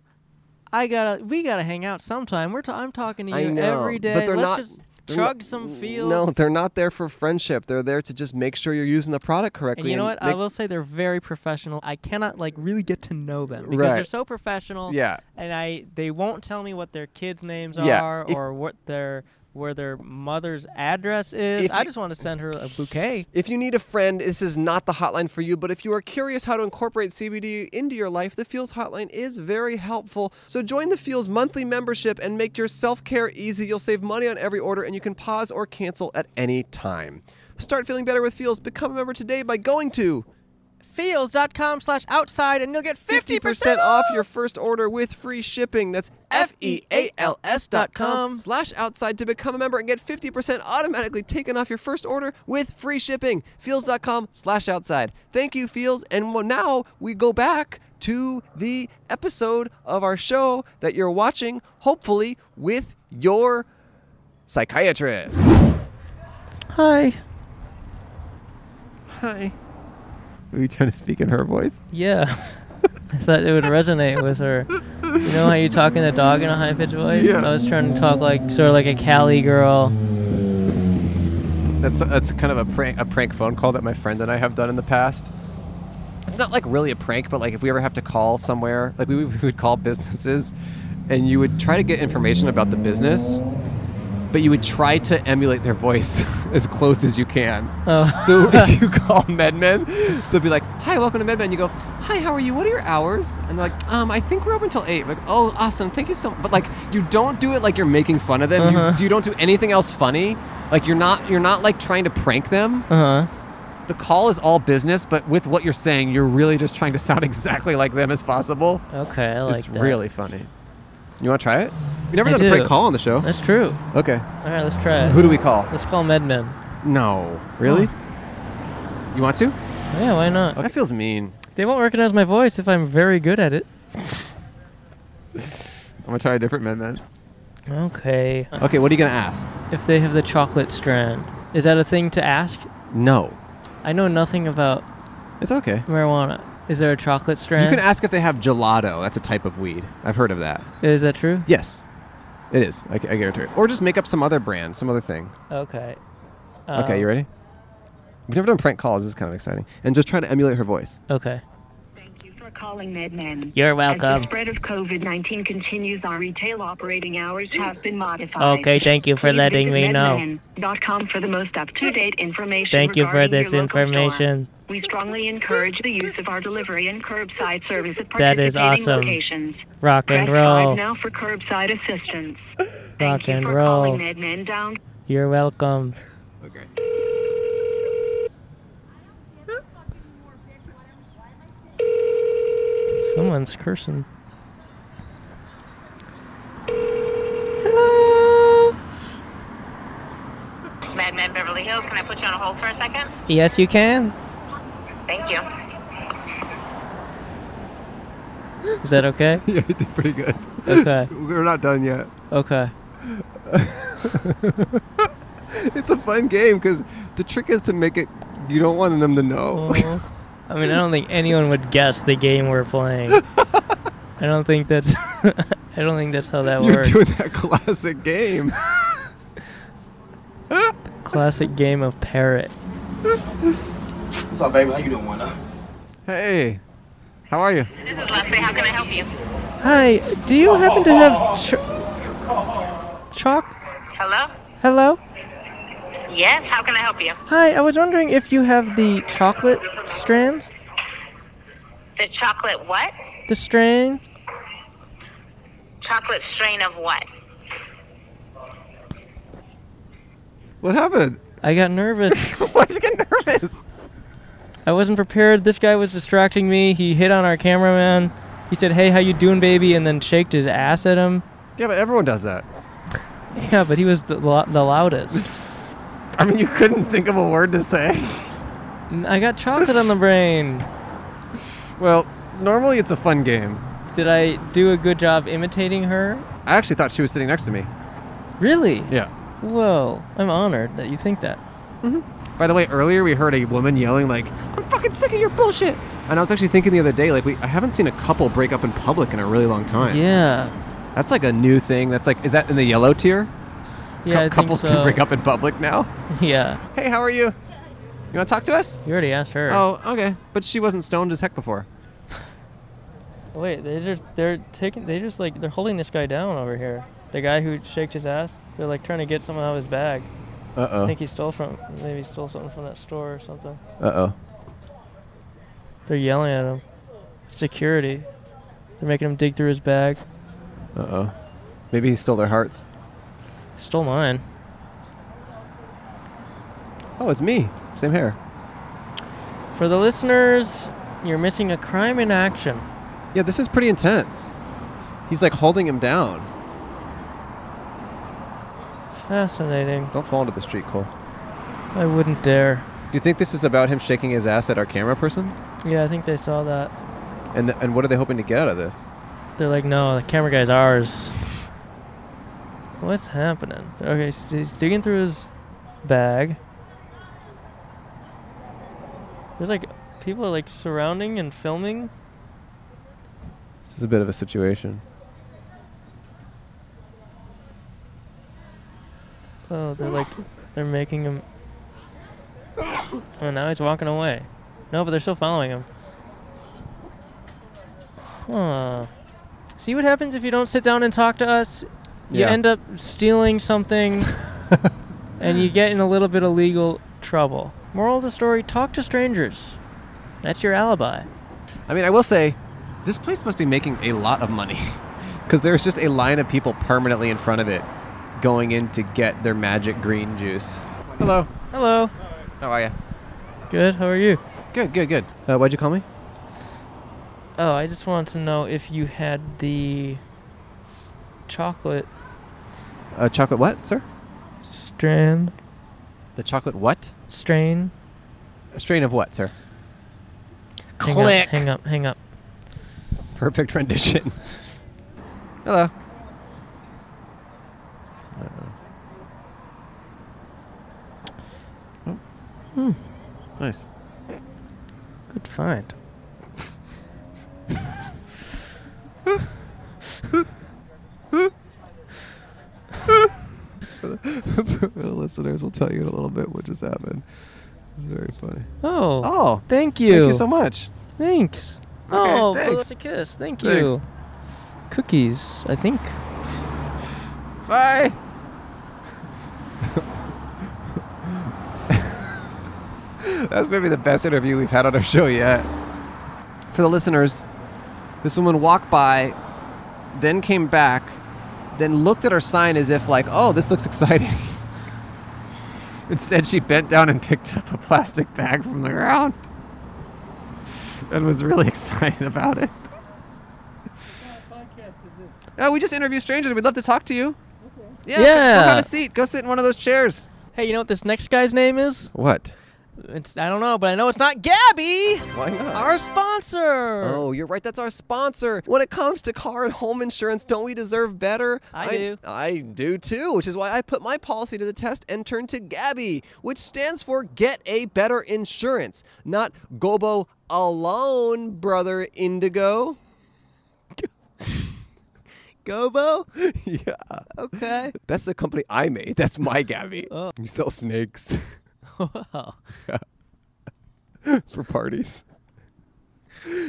[SPEAKER 5] I gotta, we gotta hang out sometime. We're, t- I'm talking to you
[SPEAKER 2] I know,
[SPEAKER 5] every day.
[SPEAKER 2] but they're
[SPEAKER 5] Let's
[SPEAKER 2] not-
[SPEAKER 5] just
[SPEAKER 2] they're
[SPEAKER 5] chug
[SPEAKER 2] not-
[SPEAKER 5] some Feels."
[SPEAKER 2] No, they're not there for friendship. They're there to just make sure you're using the product correctly.
[SPEAKER 5] And you know what? I
[SPEAKER 2] make-
[SPEAKER 5] will say they're very professional. I cannot like really get to know them because they're
[SPEAKER 2] Right.
[SPEAKER 5] so professional.
[SPEAKER 2] Yeah.
[SPEAKER 5] And I they won't tell me what their kids' names
[SPEAKER 2] Yeah,
[SPEAKER 5] are
[SPEAKER 2] if-
[SPEAKER 5] or what their where their mother's address is.
[SPEAKER 2] If
[SPEAKER 5] I
[SPEAKER 2] you-
[SPEAKER 5] just want to send her a bouquet.
[SPEAKER 2] If you need a friend, this is not the hotline for you, but if you are curious how to incorporate CBD into your life, the Feels hotline is very helpful. So join the Feels monthly membership and make your self care easy. You'll save money on every order and you can pause or cancel at any time. Start feeling better with Feels. Become a member today by going to
[SPEAKER 5] Feels.com slash outside and you'll get 50%,
[SPEAKER 2] 50% off your first order with free shipping. That's E F-E-A-L-S dot com
[SPEAKER 5] com.
[SPEAKER 2] slash outside to become a member and get 50% automatically taken off your first order with free shipping. Feels.com slash outside. Thank you, Feels. And well, now we go back to the episode of our show that you're watching, hopefully with your psychiatrist.
[SPEAKER 1] Hi.
[SPEAKER 2] Hi. Were you trying to speak in her voice?
[SPEAKER 1] Yeah. I thought it would resonate with her. You know how you talk in the dog in a high pitched voice?
[SPEAKER 2] Yeah.
[SPEAKER 1] I was trying to talk like sort of like a Cali girl.
[SPEAKER 2] That's that's kind of a prank a prank phone call that my friend and I have done in the past. It's not like really a prank, but like if we ever have to call somewhere, like we, we would call businesses, and you would try to get information about the business, but you would try to emulate their voice as close as you can.
[SPEAKER 1] Oh.
[SPEAKER 2] So if you call MedMen, they'll be like, "Hi, welcome to MedMen." You go, "Hi, how are you? What are your hours?" And they're like, "Um, I think we're open until 8. Like, "Oh, awesome. Thank you so." But like, you don't do it like you're making fun of them.
[SPEAKER 1] Uh-huh.
[SPEAKER 2] You, you don't do anything else funny. Like you're not you're not like trying to prank them.
[SPEAKER 5] Uh-huh.
[SPEAKER 1] Uh huh.
[SPEAKER 2] The call is all business, but with what you're saying, you're really just trying to sound exactly like them as possible.
[SPEAKER 1] Okay, I like
[SPEAKER 2] it's
[SPEAKER 1] that.
[SPEAKER 2] really funny. You want to try it? We never
[SPEAKER 1] I
[SPEAKER 2] done a prank
[SPEAKER 1] do.
[SPEAKER 2] call on the show.
[SPEAKER 1] That's true.
[SPEAKER 2] Okay.
[SPEAKER 1] All right, let's try it.
[SPEAKER 2] Who do we call?
[SPEAKER 1] Let's call MedMen.
[SPEAKER 2] No. Really? You want to?
[SPEAKER 1] Oh, Yeah, why not?
[SPEAKER 2] That feels mean.
[SPEAKER 1] They won't recognize my voice if I'm very good at it.
[SPEAKER 2] I'm gonna try a different man then.
[SPEAKER 1] Okay.
[SPEAKER 2] Okay, what are you gonna ask?
[SPEAKER 1] If they have the chocolate strand, is that a thing to ask?
[SPEAKER 2] No.
[SPEAKER 1] I know nothing about
[SPEAKER 2] It's okay. Eh.
[SPEAKER 1] Marijuana. Is there a chocolate
[SPEAKER 2] You
[SPEAKER 1] strand?
[SPEAKER 2] can ask if they have gelato. That's a type of weed. I've heard of that.
[SPEAKER 1] Is that true?
[SPEAKER 2] Yes, it is. I, I guarantee it. Or just make up some other brand, some other thing.
[SPEAKER 1] Okay.
[SPEAKER 2] okay, you ready? We've never done prank calls. This is kind of exciting. And just try to emulate her voice.
[SPEAKER 1] Um, Okay.
[SPEAKER 7] Thank you for calling MedMen.
[SPEAKER 1] You're
[SPEAKER 7] As
[SPEAKER 1] welcome.
[SPEAKER 7] the spread of COVID-19 continues, our retail operating hours have been modified.
[SPEAKER 1] Okay, thank you for
[SPEAKER 7] Please
[SPEAKER 1] letting me
[SPEAKER 7] visit
[SPEAKER 1] know.
[SPEAKER 7] MedMen.com for the most up-to-date information.
[SPEAKER 1] Thank you for
[SPEAKER 7] regarding your
[SPEAKER 1] this
[SPEAKER 7] local store.
[SPEAKER 1] information.
[SPEAKER 7] We strongly encourage the use of our delivery and curbside service at participating
[SPEAKER 1] That is awesome.
[SPEAKER 7] locations.
[SPEAKER 1] Rock
[SPEAKER 7] Press
[SPEAKER 1] and roll.
[SPEAKER 7] five now for curbside assistance.
[SPEAKER 1] Rock
[SPEAKER 7] Thank you
[SPEAKER 1] and
[SPEAKER 7] for
[SPEAKER 1] roll.
[SPEAKER 7] calling MedMen down.
[SPEAKER 1] You're welcome.
[SPEAKER 2] Okay.
[SPEAKER 1] Someone's cursing.
[SPEAKER 7] MedMen Beverly Hills, can I put you on hold for a second?
[SPEAKER 1] Yes, you can.
[SPEAKER 7] Thank you.
[SPEAKER 1] Is that okay?
[SPEAKER 2] yeah, you did pretty good.
[SPEAKER 1] Okay.
[SPEAKER 2] We're not done yet.
[SPEAKER 1] Okay.
[SPEAKER 2] It's a fun game because the trick is to make it. You don't want them to know.
[SPEAKER 1] Oh. I mean, I don't think anyone would guess the game we're playing. I don't think that's. I don't think that's how that
[SPEAKER 2] You're
[SPEAKER 1] works.
[SPEAKER 2] doing that classic game.
[SPEAKER 1] Classic game of parrot.
[SPEAKER 8] What's up, baby? How you doing, huh?
[SPEAKER 2] hey, how are you?
[SPEAKER 7] This is Leslie. How can I help you?
[SPEAKER 1] Hi. Do you happen to have cho- chalk?
[SPEAKER 7] Hello?
[SPEAKER 1] Hello.
[SPEAKER 7] Yes, how can I help you?
[SPEAKER 1] Hi. I was wondering if you have the chocolate strand.
[SPEAKER 7] The chocolate what?
[SPEAKER 1] The string.
[SPEAKER 7] Chocolate strain of what?
[SPEAKER 2] What happened?
[SPEAKER 1] I got nervous.
[SPEAKER 2] Why'd you get nervous?
[SPEAKER 1] I wasn't prepared. This guy was distracting me. He hit on our cameraman. He said, "Hey, how you doing, baby?" and then shaked his ass at him.
[SPEAKER 2] Yeah, but everyone does that.
[SPEAKER 1] Yeah, but he was the, lo- the loudest.
[SPEAKER 2] I mean, you couldn't think of a word to say.
[SPEAKER 1] N- I got chocolate on the brain.
[SPEAKER 2] Well, normally it's a fun game.
[SPEAKER 1] Did I do a good job imitating her?
[SPEAKER 2] I actually thought she was sitting next to me.
[SPEAKER 1] Really?
[SPEAKER 2] Yeah.
[SPEAKER 1] Whoa, I'm honored that you think that.
[SPEAKER 2] By the way, earlier we heard a woman yelling like, "I'm fucking sick of your bullshit." And I was actually thinking the other day, like, we I haven't seen a couple break up in public in a really long time.
[SPEAKER 1] Yeah.
[SPEAKER 2] That's like a new thing. That's like, is that in the yellow tier?
[SPEAKER 1] Yeah, I think
[SPEAKER 2] couples
[SPEAKER 1] so.
[SPEAKER 2] can break up in public now.
[SPEAKER 1] Yeah.
[SPEAKER 2] Hey, how are you? You want to talk to us?
[SPEAKER 1] You already asked her.
[SPEAKER 2] Oh, okay. But she wasn't stoned as heck before.
[SPEAKER 1] Wait, they just they're taking they just like they're holding this guy down over here. The guy who shaked his ass, they're like trying to get something out of his bag.
[SPEAKER 2] Uh
[SPEAKER 1] I
[SPEAKER 2] oh.
[SPEAKER 1] think he stole from maybe he stole something from that store or something.
[SPEAKER 2] Uh oh.
[SPEAKER 1] They're yelling at him. Security. They're making him dig through his bag.
[SPEAKER 2] Uh oh. Maybe he stole their hearts.
[SPEAKER 1] Stole mine.
[SPEAKER 2] Oh, it's me. Same hair.
[SPEAKER 1] For the listeners, you're missing a crime in action.
[SPEAKER 2] Yeah, this is pretty intense. He's like holding him down.
[SPEAKER 1] Fascinating.
[SPEAKER 2] Don't fall into the street, Cole.
[SPEAKER 1] I wouldn't dare.
[SPEAKER 2] Do you think this is about him shaking his ass at our camera person?
[SPEAKER 1] Yeah, I think they saw that.
[SPEAKER 2] And and what are they hoping to get out of this?
[SPEAKER 1] They're like, no, the camera guy's ours. What's happening? Okay, so he's digging through his bag. There's like people are like surrounding and filming.
[SPEAKER 2] This is a bit of a situation.
[SPEAKER 1] Oh, they're like, they're making him. Oh, now he's walking away. No, but they're still following him. Huh. See what happens if you don't sit down and talk to us? You
[SPEAKER 2] Yeah.
[SPEAKER 1] end up stealing something and you get in a little bit of legal trouble. Moral of the story talk to strangers. That's your alibi.
[SPEAKER 2] I mean, I will say, this place must be making a lot of money, because there's just a line of people permanently in front of it, going in to get their magic green juice. Hello.
[SPEAKER 1] Hello.
[SPEAKER 2] How are you?
[SPEAKER 1] Good, how are you?
[SPEAKER 2] Good, good, good. Uh, why'd you call me?
[SPEAKER 1] Oh, I just wanted to know if you had the s- chocolate
[SPEAKER 2] Uh, chocolate what, sir?
[SPEAKER 1] strand.
[SPEAKER 2] The chocolate what?
[SPEAKER 1] strain.
[SPEAKER 2] A strain of what, sir?
[SPEAKER 1] Hang Up, hang up, hang up.
[SPEAKER 2] Perfect rendition. Hello. Nice.
[SPEAKER 1] Good find?
[SPEAKER 2] the listeners will tell you in a little bit what just happened. It's very funny.
[SPEAKER 1] Oh,
[SPEAKER 2] Oh,
[SPEAKER 1] thank you.
[SPEAKER 2] thank you so much.
[SPEAKER 1] Thanks.
[SPEAKER 2] Okay,
[SPEAKER 1] oh,
[SPEAKER 2] thanks.
[SPEAKER 1] blows a kiss. Thank
[SPEAKER 2] Thanks.
[SPEAKER 1] you. Cookies, I think.
[SPEAKER 2] Bye. That's maybe the best interview we've had on our show yet. For the listeners, this woman walked by, then came back, then looked at our sign as if like, "Oh, this looks exciting." Instead, she bent down and picked up a plastic bag from the ground and was really excited about it.
[SPEAKER 9] podcast is this?
[SPEAKER 2] No, Oh, we just interview strangers. We'd love to talk to you. Yeah.
[SPEAKER 1] Yeah.
[SPEAKER 2] Go have a seat. Go sit in one of those chairs.
[SPEAKER 5] Hey, you know what this next guy's name is?
[SPEAKER 2] What?
[SPEAKER 5] It's I don't know, but I know it's not Gabby,
[SPEAKER 2] Why not?
[SPEAKER 5] our sponsor.
[SPEAKER 2] Oh, you're right. That's our sponsor. When it comes to car and home insurance, don't we deserve better?
[SPEAKER 5] I do.
[SPEAKER 2] I do too, which is why I put my policy to the test and turned to Gabby, which stands for Get a Better Insurance, not Gobo Alone, brother Indigo.
[SPEAKER 5] Gobo.
[SPEAKER 2] yeah.
[SPEAKER 5] Okay.
[SPEAKER 2] That's the company I made. That's my Gabby. Oh. You sell snakes
[SPEAKER 5] Wow.
[SPEAKER 2] for parties.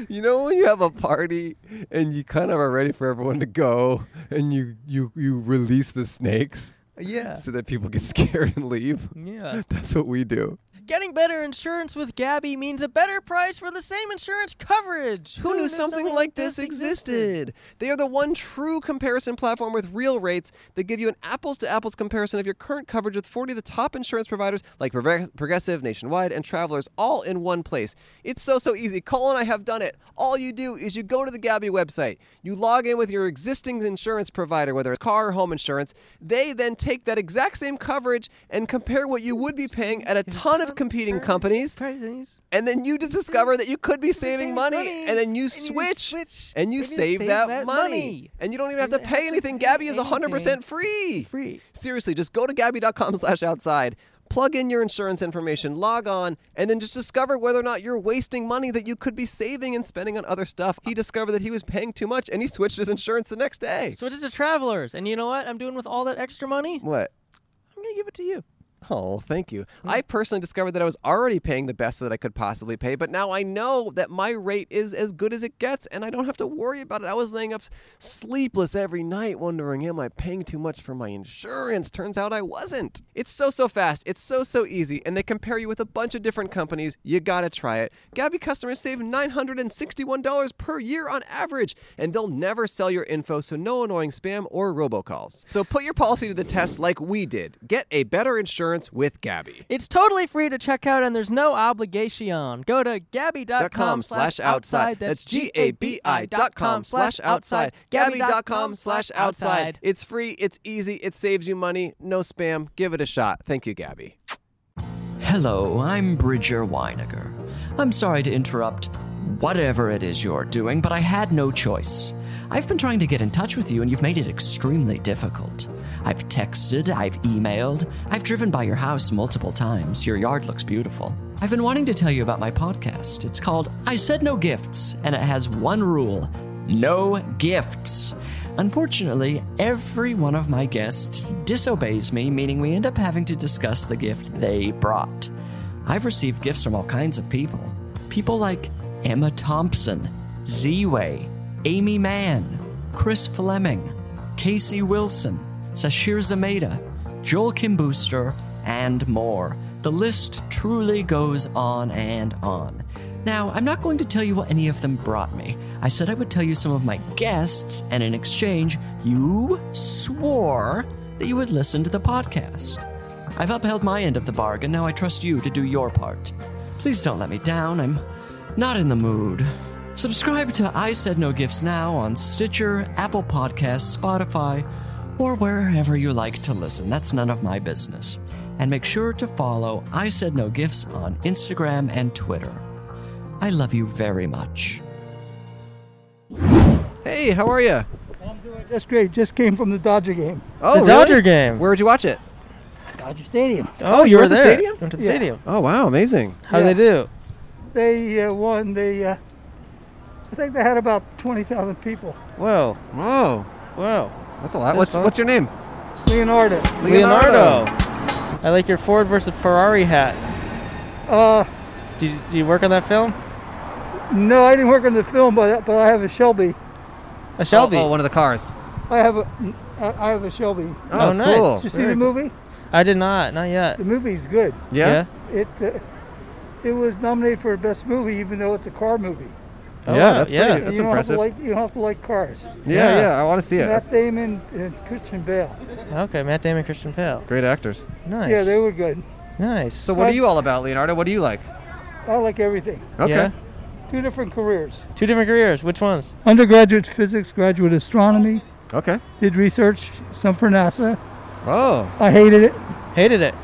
[SPEAKER 2] You know when you have a party and you kind of are ready for everyone to go and you you you release the snakes
[SPEAKER 5] Yeah.
[SPEAKER 2] so that people get scared and leave.
[SPEAKER 5] Yeah.
[SPEAKER 2] That's what we do.
[SPEAKER 5] Getting better insurance with Gabby means a better price for the same insurance coverage.
[SPEAKER 2] Who knew Oh, something, like this existed? They are the one true comparison platform with real rates that give you an apples to apples comparison of your current coverage with 40 of the top insurance providers like Prog- Progressive, Nationwide, and Travelers all in one place. It's so, so easy. Cole and I have done it. All you do is you go to the Gabby website, you log in with your existing insurance provider, whether it's car or home insurance. They then take that exact same coverage and compare what you would be paying at a ton of competing companies
[SPEAKER 5] Prices.
[SPEAKER 2] and then you just discover that you could be saving money, and then you switch,
[SPEAKER 5] switch,
[SPEAKER 2] and you
[SPEAKER 5] and you
[SPEAKER 2] save,
[SPEAKER 5] save
[SPEAKER 2] that,
[SPEAKER 5] that
[SPEAKER 2] money.
[SPEAKER 5] money.
[SPEAKER 2] and you don't even have
[SPEAKER 5] You
[SPEAKER 2] to
[SPEAKER 5] don't have
[SPEAKER 2] pay
[SPEAKER 5] to
[SPEAKER 2] anything.
[SPEAKER 5] pay
[SPEAKER 2] Gabby is
[SPEAKER 5] anything.
[SPEAKER 2] 100% free.
[SPEAKER 5] Free.
[SPEAKER 2] Seriously, just go to Gabby.com/outside. Plug in your insurance information, log on, and then just discover whether or not you're wasting money that you could be saving and spending on other stuff. He discovered that he was paying too much, and he switched his insurance the next day.
[SPEAKER 5] Switch it to travelers, and you know what? I'm doing with all that extra money.
[SPEAKER 2] What?
[SPEAKER 5] I'm gonna give it to you. Mm.
[SPEAKER 2] Oh, thank you. I personally discovered that I was already paying the best that I could possibly pay, but now I know that my rate is as good as it gets and I don't have to worry about it. I was laying up sleepless every night wondering, am I paying too much for my insurance? Turns out I wasn't. It's so, so fast. It's so, so easy. And they compare you with a bunch of different companies. You gotta try it. Gabby customers save $961 per year on average, and they'll never sell your info, so no annoying spam or robocalls. So put your policy to the test like we did. Get a better insurance with Gabby.
[SPEAKER 5] It's totally free to check out, and there's no obligation. Go to gabby.com slash outside.
[SPEAKER 2] That's G A B I dot com slash outside. Gabby dot com slash outside. It's free, it's easy, it saves you money, no spam. Give it a shot. Thank you, Gabby.
[SPEAKER 4] Hello, I'm Bridger Weiniger. I'm sorry to interrupt whatever it is you're doing, but I had no choice. I've been trying to get in touch with you, and you've made it extremely difficult. I've texted, I've emailed, I've driven by your house multiple times. Your yard looks beautiful. I've been wanting to tell you about my podcast. It's called I Said No Gifts, and it has one rule no gifts. Unfortunately, every one of my guests disobeys me, meaning we end up having to discuss the gift they brought. I've received gifts from all kinds of people. People like Emma Thompson, Z Way, Amy Mann, Chris Fleming, Casey Wilson, Sashir Zameda, Joel Kim Booster, and more. The list truly goes on and on. Now, I'm not going to tell you what any of them brought me. I said I would tell you some of my guests, and in exchange, you swore that you would listen to the podcast. I've upheld my end of the bargain, now I trust you to do your part. Please don't let me down, I'm not in the mood. Subscribe to I Said No Gifts Now on Stitcher, Apple Podcasts, Spotify, or wherever you like to listen. That's none of my business. And make sure to follow I Said No Gifts on Instagram and Twitter. I love you very much.
[SPEAKER 2] Hey, how are you?
[SPEAKER 10] Just great. Just came from the Dodger game,
[SPEAKER 2] Oh,
[SPEAKER 1] the
[SPEAKER 2] really?
[SPEAKER 1] Dodger game.
[SPEAKER 2] Where'd you watch it?
[SPEAKER 10] Dodger Stadium.
[SPEAKER 1] oh,
[SPEAKER 2] you were at the
[SPEAKER 1] there.
[SPEAKER 2] stadium?
[SPEAKER 1] Went to the
[SPEAKER 10] Yeah.
[SPEAKER 1] stadium.
[SPEAKER 2] Oh, wow, amazing.
[SPEAKER 1] How
[SPEAKER 10] Yeah.
[SPEAKER 1] would they do?
[SPEAKER 10] They uh, won the. Uh, I think they had about twenty thousand people.
[SPEAKER 1] Whoa.
[SPEAKER 2] Whoa.
[SPEAKER 1] Whoa.
[SPEAKER 2] That's a lot. Oh, What's- what's your name?
[SPEAKER 10] Leonardo.
[SPEAKER 1] Leonardo. I like your Ford versus Ferrari hat.
[SPEAKER 10] Uh.
[SPEAKER 1] Did you, you work on that film?
[SPEAKER 10] No, I didn't work on the film, but but I have a Shelby.
[SPEAKER 1] A Shelby.
[SPEAKER 2] Oh, oh, one of the cars.
[SPEAKER 10] I have a I I have a Shelby.
[SPEAKER 1] Oh, nice.
[SPEAKER 10] Did you see
[SPEAKER 1] Very
[SPEAKER 10] the
[SPEAKER 1] cool.
[SPEAKER 10] movie?
[SPEAKER 1] I did not. Not yet.
[SPEAKER 10] The movie's good.
[SPEAKER 1] Yeah?
[SPEAKER 10] It uh, it was nominated for best movie, even though it's a car movie.
[SPEAKER 2] Oh, Yeah, wow. that's pretty- Yeah. that's
[SPEAKER 10] you don't have to
[SPEAKER 2] impressive.
[SPEAKER 10] like- you don't have to like cars.
[SPEAKER 2] Yeah, Yeah. yeah, I wanna see it.
[SPEAKER 10] Matt Damon and Christian Bale.
[SPEAKER 1] Okay, Matt Damon, Christian Pale.
[SPEAKER 2] Great actors.
[SPEAKER 1] Nice.
[SPEAKER 10] Yeah, they were good.
[SPEAKER 1] Nice.
[SPEAKER 2] So what are you all about, Leonardo? What do you like?
[SPEAKER 10] I like everything.
[SPEAKER 2] Okay. Yeah?
[SPEAKER 10] Two different careers.
[SPEAKER 1] Two different careers. Which ones?
[SPEAKER 10] Undergraduate physics, graduate astronomy.
[SPEAKER 2] Okay.
[SPEAKER 10] Did research, some for NASA.
[SPEAKER 2] Oh.
[SPEAKER 10] I hated it.
[SPEAKER 1] Hated it.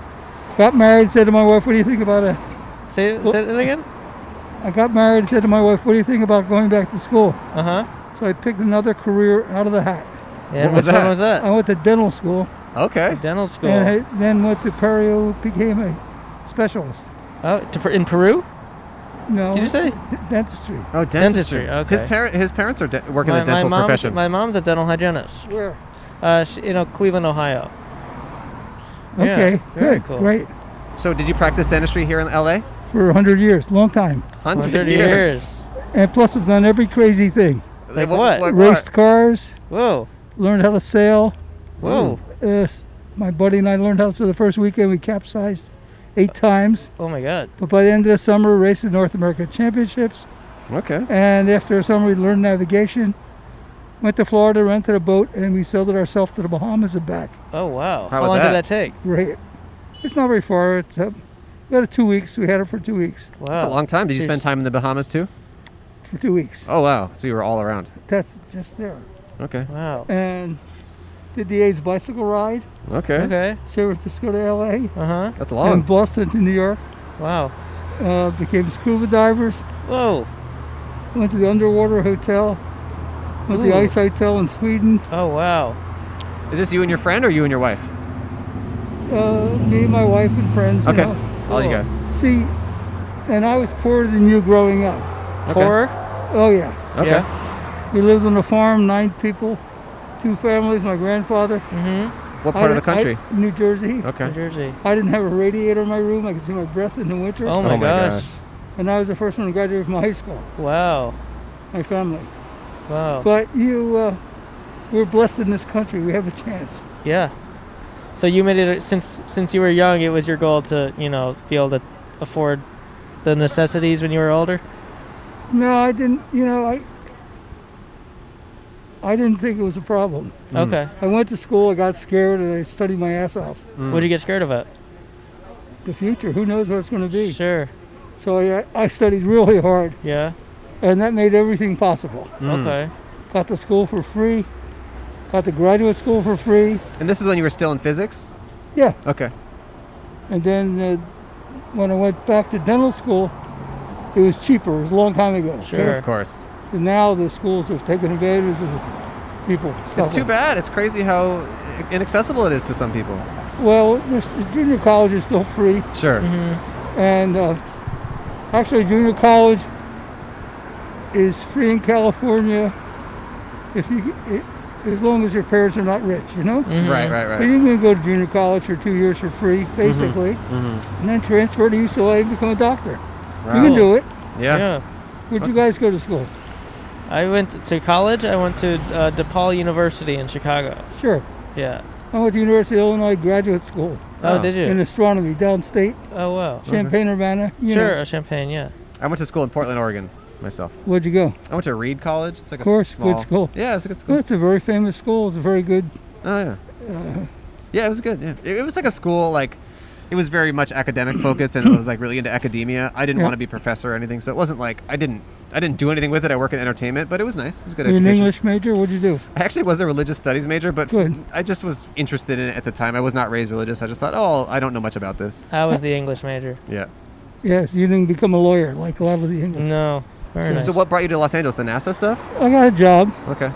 [SPEAKER 10] Got married, said to my wife, What do you think about it?
[SPEAKER 1] Say, say it again?
[SPEAKER 10] I got married, said to my wife, What do you think about going back to school?
[SPEAKER 1] Uh huh.
[SPEAKER 10] So I picked another career out of the hat.
[SPEAKER 1] And What was which one that? was that?
[SPEAKER 10] I went to dental school.
[SPEAKER 2] Okay.
[SPEAKER 1] Dental school.
[SPEAKER 10] And I then went to Peru, became a specialist.
[SPEAKER 1] Oh, to, Per- in Peru?
[SPEAKER 10] No.
[SPEAKER 1] Did you say?
[SPEAKER 10] d- dentistry.
[SPEAKER 2] Oh, dentistry.
[SPEAKER 1] Dentistry, okay.
[SPEAKER 2] His parent, his parents are de- work in
[SPEAKER 1] my,
[SPEAKER 2] the dental
[SPEAKER 1] my mom's,
[SPEAKER 2] profession.
[SPEAKER 1] My mom's a dental hygienist.
[SPEAKER 10] Where?
[SPEAKER 1] Uh, she, you know, Cleveland, Ohio. Yeah,
[SPEAKER 10] Okay,
[SPEAKER 1] very
[SPEAKER 10] good,
[SPEAKER 1] cool.
[SPEAKER 10] great.
[SPEAKER 2] So, did you practice dentistry here in L.A.?
[SPEAKER 10] For 100 years, long time.
[SPEAKER 2] 100 100 years. years.
[SPEAKER 10] And plus, I've done every crazy thing.
[SPEAKER 2] Like Like what? what?
[SPEAKER 10] Raced
[SPEAKER 2] Like what?
[SPEAKER 10] cars.
[SPEAKER 1] Whoa.
[SPEAKER 10] Learned how to sail.
[SPEAKER 1] Whoa.
[SPEAKER 10] Uh, s- my buddy and I learned how to so the first weekend we capsized eight times.
[SPEAKER 1] Oh my God.
[SPEAKER 10] But by the end of the summer, raced the North America Championships.
[SPEAKER 2] Okay.
[SPEAKER 10] And after the summer, we learned navigation. Went to Florida, rented a boat, and we sailed it ourselves to the Bahamas and back.
[SPEAKER 1] Oh wow.
[SPEAKER 10] How was
[SPEAKER 1] long
[SPEAKER 10] that?
[SPEAKER 1] did that take?
[SPEAKER 10] Right. It's not very far. It's uh, about two weeks. We had it for two weeks.
[SPEAKER 1] Wow.
[SPEAKER 2] That's a long time. Did you spend
[SPEAKER 10] Jeez.
[SPEAKER 2] time in the Bahamas too?
[SPEAKER 10] For two weeks.
[SPEAKER 2] Oh wow. So you were all around.
[SPEAKER 10] That's just there.
[SPEAKER 2] Okay.
[SPEAKER 1] Wow.
[SPEAKER 10] And did the AIDS bicycle ride.
[SPEAKER 2] Okay. Okay.
[SPEAKER 10] San Francisco to L.A.
[SPEAKER 1] Uh huh.
[SPEAKER 2] That's long.
[SPEAKER 10] And Boston to New York.
[SPEAKER 1] Wow.
[SPEAKER 10] Uh, became scuba divers.
[SPEAKER 1] Whoa.
[SPEAKER 10] Went to the underwater hotel. Went to
[SPEAKER 2] Ooh.
[SPEAKER 10] the ice hotel in Sweden.
[SPEAKER 1] Oh wow.
[SPEAKER 2] Is this you and your friend, or you and your wife?
[SPEAKER 10] Uh, me, my wife, and friends.
[SPEAKER 2] Okay.
[SPEAKER 10] You know.
[SPEAKER 2] All you guys.
[SPEAKER 10] See, and I was poorer than you growing up.
[SPEAKER 2] Okay. Poorer?
[SPEAKER 10] Oh yeah.
[SPEAKER 2] Okay.
[SPEAKER 10] We lived on a farm, nine people, two families. My grandfather.
[SPEAKER 1] Mm-hmm.
[SPEAKER 2] What part of the country?
[SPEAKER 10] New Jersey.
[SPEAKER 2] Okay. New
[SPEAKER 1] Jersey.
[SPEAKER 10] I didn't have a radiator in my room. I could see my breath in the winter.
[SPEAKER 1] Oh my Oh my gosh. gosh.
[SPEAKER 10] And I was the first one to graduate from high school.
[SPEAKER 1] Wow.
[SPEAKER 10] My family.
[SPEAKER 2] Oh.
[SPEAKER 1] Wow.
[SPEAKER 10] But you, uh, we're blessed in this country. We have a chance.
[SPEAKER 1] Yeah. So you made it since since you were young. It was your goal to you know be able to afford the necessities when you were older.
[SPEAKER 10] No, I didn't. You know, I I didn't think it was a problem.
[SPEAKER 1] Mm. Okay.
[SPEAKER 10] I went to school. I got scared, and I studied my ass off.
[SPEAKER 1] What did you get scared about?
[SPEAKER 10] The future. Who knows what it's going to be?
[SPEAKER 1] Sure.
[SPEAKER 10] So I, I studied really hard.
[SPEAKER 1] Yeah.
[SPEAKER 10] And that made everything possible.
[SPEAKER 2] Mm. Okay.
[SPEAKER 10] Got to school for free. Got to graduate school for free.
[SPEAKER 2] And this is when you were still in physics.
[SPEAKER 10] Yeah.
[SPEAKER 2] Okay.
[SPEAKER 10] And then uh, when I went back to dental school, it was cheaper. It was a long time ago. okay?
[SPEAKER 2] Sure, of course.
[SPEAKER 10] And now the schools have taken advantage of people.
[SPEAKER 2] It's too bad. It's crazy how inaccessible it is to some people.
[SPEAKER 10] Well, this, the junior college is still free.
[SPEAKER 2] Sure.
[SPEAKER 10] And uh, actually, junior college is free in California if you, i as long as your parents are not rich, you know.
[SPEAKER 2] Mhm. Right, Mm-hmm. right, right.
[SPEAKER 10] But you can go to junior college for two years for free, basically,
[SPEAKER 2] Mhm.
[SPEAKER 10] and then transfer to UCLA and become a doctor. You can do it.
[SPEAKER 2] Yeah.
[SPEAKER 10] Where'd you guys go to school?
[SPEAKER 1] I went to college. I went to uh, DePaul University in Chicago.
[SPEAKER 10] Sure.
[SPEAKER 1] Yeah.
[SPEAKER 10] I went to University of Illinois Graduate School.
[SPEAKER 1] Oh, did you?
[SPEAKER 10] In astronomy, downstate.
[SPEAKER 1] Oh wow.
[SPEAKER 10] Champaign, Urbana. you know.
[SPEAKER 1] Sure, a Champaign. Yeah.
[SPEAKER 2] I went to school in Portland, Oregon, myself.
[SPEAKER 10] Where'd you go?
[SPEAKER 2] I went to Reed College. It's like
[SPEAKER 10] Of course,
[SPEAKER 2] a small,
[SPEAKER 10] good school.
[SPEAKER 2] Yeah, it's a good school.
[SPEAKER 10] Well, it's a very famous school. It's a very good.
[SPEAKER 2] Oh yeah.
[SPEAKER 10] Uh,
[SPEAKER 2] Yeah, it was good. Yeah, it, it was like a school like. It was very much academic focused, and it was like really into academia. I didn't
[SPEAKER 10] Yeah.
[SPEAKER 2] want to be a professor or anything, so it wasn't like I didn't I didn't do anything with it. I work in entertainment, but it was nice. It was a good
[SPEAKER 10] were you an
[SPEAKER 2] education.
[SPEAKER 10] English major? What'd you do?
[SPEAKER 2] I actually was a religious studies major, but
[SPEAKER 10] Good.
[SPEAKER 2] I just was interested in it at the time. I was not raised religious. I just thought, oh, I don't know much about this.
[SPEAKER 1] I was the English major.
[SPEAKER 2] Yeah.
[SPEAKER 10] Yes, you didn't become a lawyer like a lot of the English.
[SPEAKER 1] No.
[SPEAKER 2] So, so what brought you to Los Angeles? The NASA stuff?
[SPEAKER 10] I got a job.
[SPEAKER 2] Okay.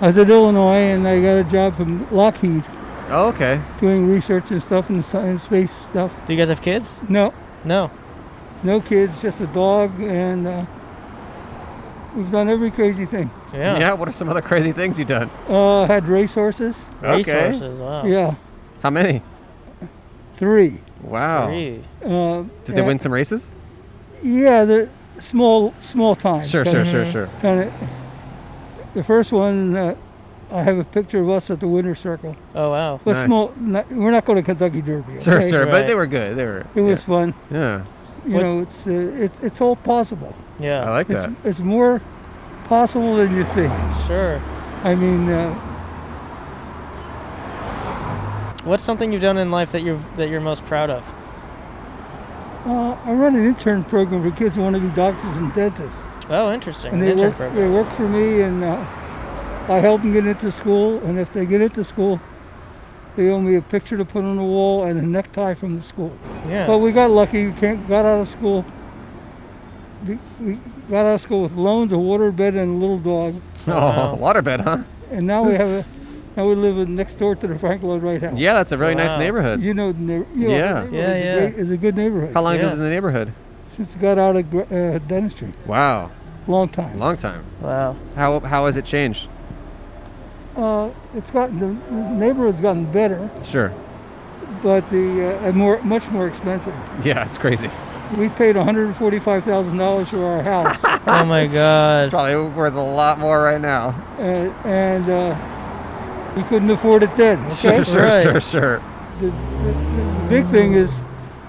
[SPEAKER 10] I was at Illinois, and I got a job from Lockheed
[SPEAKER 2] Oh, okay.
[SPEAKER 10] doing research and stuff and science space stuff.
[SPEAKER 1] Do you guys have kids?
[SPEAKER 10] No.
[SPEAKER 1] No.
[SPEAKER 10] No kids, just a dog, and uh, we've done every crazy thing.
[SPEAKER 2] Yeah. What are some other crazy things you've done?
[SPEAKER 10] Uh, had race horses.
[SPEAKER 2] Race Okay. horses, wow.
[SPEAKER 10] Yeah,
[SPEAKER 2] How many?
[SPEAKER 10] three.
[SPEAKER 2] Wow.
[SPEAKER 10] Uh,
[SPEAKER 2] Did they
[SPEAKER 10] uh,
[SPEAKER 2] win some races?
[SPEAKER 10] Yeah, the small small time.
[SPEAKER 2] Sure, sure, sure, Mhm. sure.
[SPEAKER 10] Kind of. The first one, uh, I have a picture of us at the winner's circle.
[SPEAKER 1] Oh, wow.
[SPEAKER 10] But
[SPEAKER 1] Nice.
[SPEAKER 10] small. Not, we're not going to Kentucky Derby.
[SPEAKER 2] Sure,
[SPEAKER 10] okay?
[SPEAKER 2] sure. But they were good. They were.
[SPEAKER 10] It was
[SPEAKER 2] yeah.
[SPEAKER 10] fun.
[SPEAKER 2] Yeah.
[SPEAKER 10] You
[SPEAKER 2] What-
[SPEAKER 10] know, it's uh, it, it's all possible.
[SPEAKER 1] Yeah.
[SPEAKER 2] I like
[SPEAKER 10] it's,
[SPEAKER 2] that.
[SPEAKER 10] It's more possible than you think.
[SPEAKER 1] Sure.
[SPEAKER 10] I mean, uh,
[SPEAKER 1] What's something you've done in life that you're that you're most proud of?
[SPEAKER 10] uh, I run an intern program for kids who want to be doctors and dentists.
[SPEAKER 1] Oh, interesting.
[SPEAKER 10] And
[SPEAKER 1] An
[SPEAKER 10] they
[SPEAKER 1] intern
[SPEAKER 10] work,
[SPEAKER 1] program.
[SPEAKER 10] they work for me, and uh, I help them get into school. And if they get into school, they owe me a picture to put on the wall and a necktie from the school.
[SPEAKER 1] Yeah.
[SPEAKER 10] But we got lucky. We can't, got out of school. We, we got out of school with loans, a waterbed, and a little dog.
[SPEAKER 2] Oh, wow. waterbed, huh?
[SPEAKER 10] And now we have a. Now we live in- next door to the Frank Lloyd Wright House.
[SPEAKER 2] Hmm. Yeah, that's a very nice Wow. neighborhood.
[SPEAKER 10] You know, the neigh- you know
[SPEAKER 2] Yeah.
[SPEAKER 10] the neighborhood
[SPEAKER 2] Yeah,
[SPEAKER 10] is
[SPEAKER 2] yeah.
[SPEAKER 10] A great, is a good neighborhood.
[SPEAKER 2] How long have you lived in the neighborhood?
[SPEAKER 10] Since I got out of gra- uh, dentistry.
[SPEAKER 2] Wow.
[SPEAKER 10] Long time.
[SPEAKER 2] Long time.
[SPEAKER 1] Wow.
[SPEAKER 2] How how has it changed?
[SPEAKER 10] Uh, it's gotten the neighborhood's gotten better,
[SPEAKER 2] Sure.
[SPEAKER 10] but the uh, and more much more expensive.
[SPEAKER 2] Yeah, it's crazy.
[SPEAKER 10] We paid one hundred forty-five thousand dollars for our house.
[SPEAKER 1] oh my God.
[SPEAKER 2] It's probably worth a lot more right now.
[SPEAKER 10] Uh, and uh, we couldn't afford it then. Okay?
[SPEAKER 2] Sure, sure, sure, sure.
[SPEAKER 10] The, the- the big thing is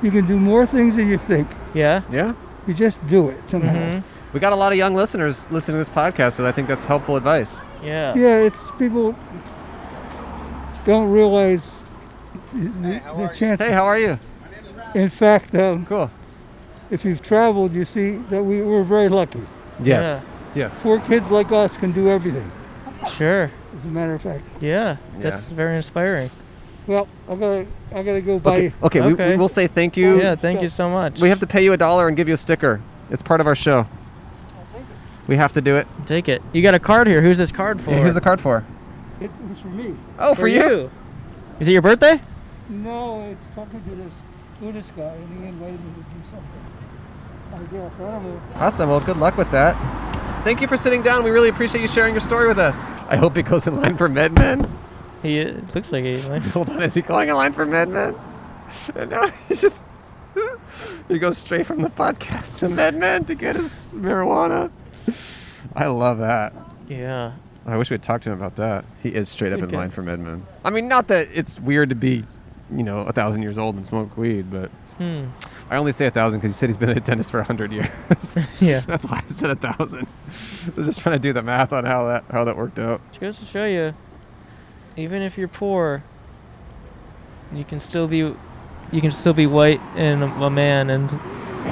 [SPEAKER 10] you can do more things than you think.
[SPEAKER 1] Yeah. Mm-hmm.
[SPEAKER 2] Yeah.
[SPEAKER 10] You just do it somehow.
[SPEAKER 2] We got a lot of young listeners listening to this podcast, so I think that's helpful advice.
[SPEAKER 1] Yeah.
[SPEAKER 10] Yeah, it's people don't realize the, the chances.
[SPEAKER 2] Hey, how are you?
[SPEAKER 10] In fact, um,
[SPEAKER 2] cool.
[SPEAKER 10] If you've traveled, you see that we were very lucky.
[SPEAKER 2] Yes. Yeah.
[SPEAKER 10] Four kids like us can do everything.
[SPEAKER 1] Sure.
[SPEAKER 10] As a matter of fact.
[SPEAKER 1] Yeah.
[SPEAKER 2] Yeah.
[SPEAKER 1] That's very inspiring.
[SPEAKER 10] Well, I gotta, I gotta go buy.
[SPEAKER 2] Okay, okay, We, we will say thank you.
[SPEAKER 1] Yeah, thank you so much.
[SPEAKER 2] We have to pay you a dollar and give you a sticker. It's part of our show. We have to do it.
[SPEAKER 1] Take it. You got a card here. Who's this card for?
[SPEAKER 2] Yeah, who's the card for?
[SPEAKER 10] It was for me.
[SPEAKER 2] Oh, for For you. you.
[SPEAKER 1] Is it your birthday?
[SPEAKER 10] No, it's talking to this Buddhist guy, and he invited me to do something. I guess I don't know.
[SPEAKER 2] Awesome. Well, good luck with that. Thank you for sitting down. We really appreciate you sharing your story with us. I hope he goes in line for MedMen.
[SPEAKER 1] He uh, looks like he.
[SPEAKER 2] Hold on, is he going in line for MedMen? And now he's just. he goes straight from the podcast to MedMen to get his marijuana. I love that.
[SPEAKER 1] Yeah.
[SPEAKER 2] I wish we had talked to him about that. He is straight up in
[SPEAKER 1] Okay.
[SPEAKER 2] line for MedMen. I mean, not that it's weird to be, you know, a thousand years old and smoke weed, but
[SPEAKER 1] Hmm.
[SPEAKER 2] I only say a thousand because you said he's been a dentist for a hundred years.
[SPEAKER 1] Yeah.
[SPEAKER 2] that's why I said a thousand. I was just trying to do the math on how that how that worked out.
[SPEAKER 1] It goes to show you, even if you're poor, you can still be, you can still be white and a, a man and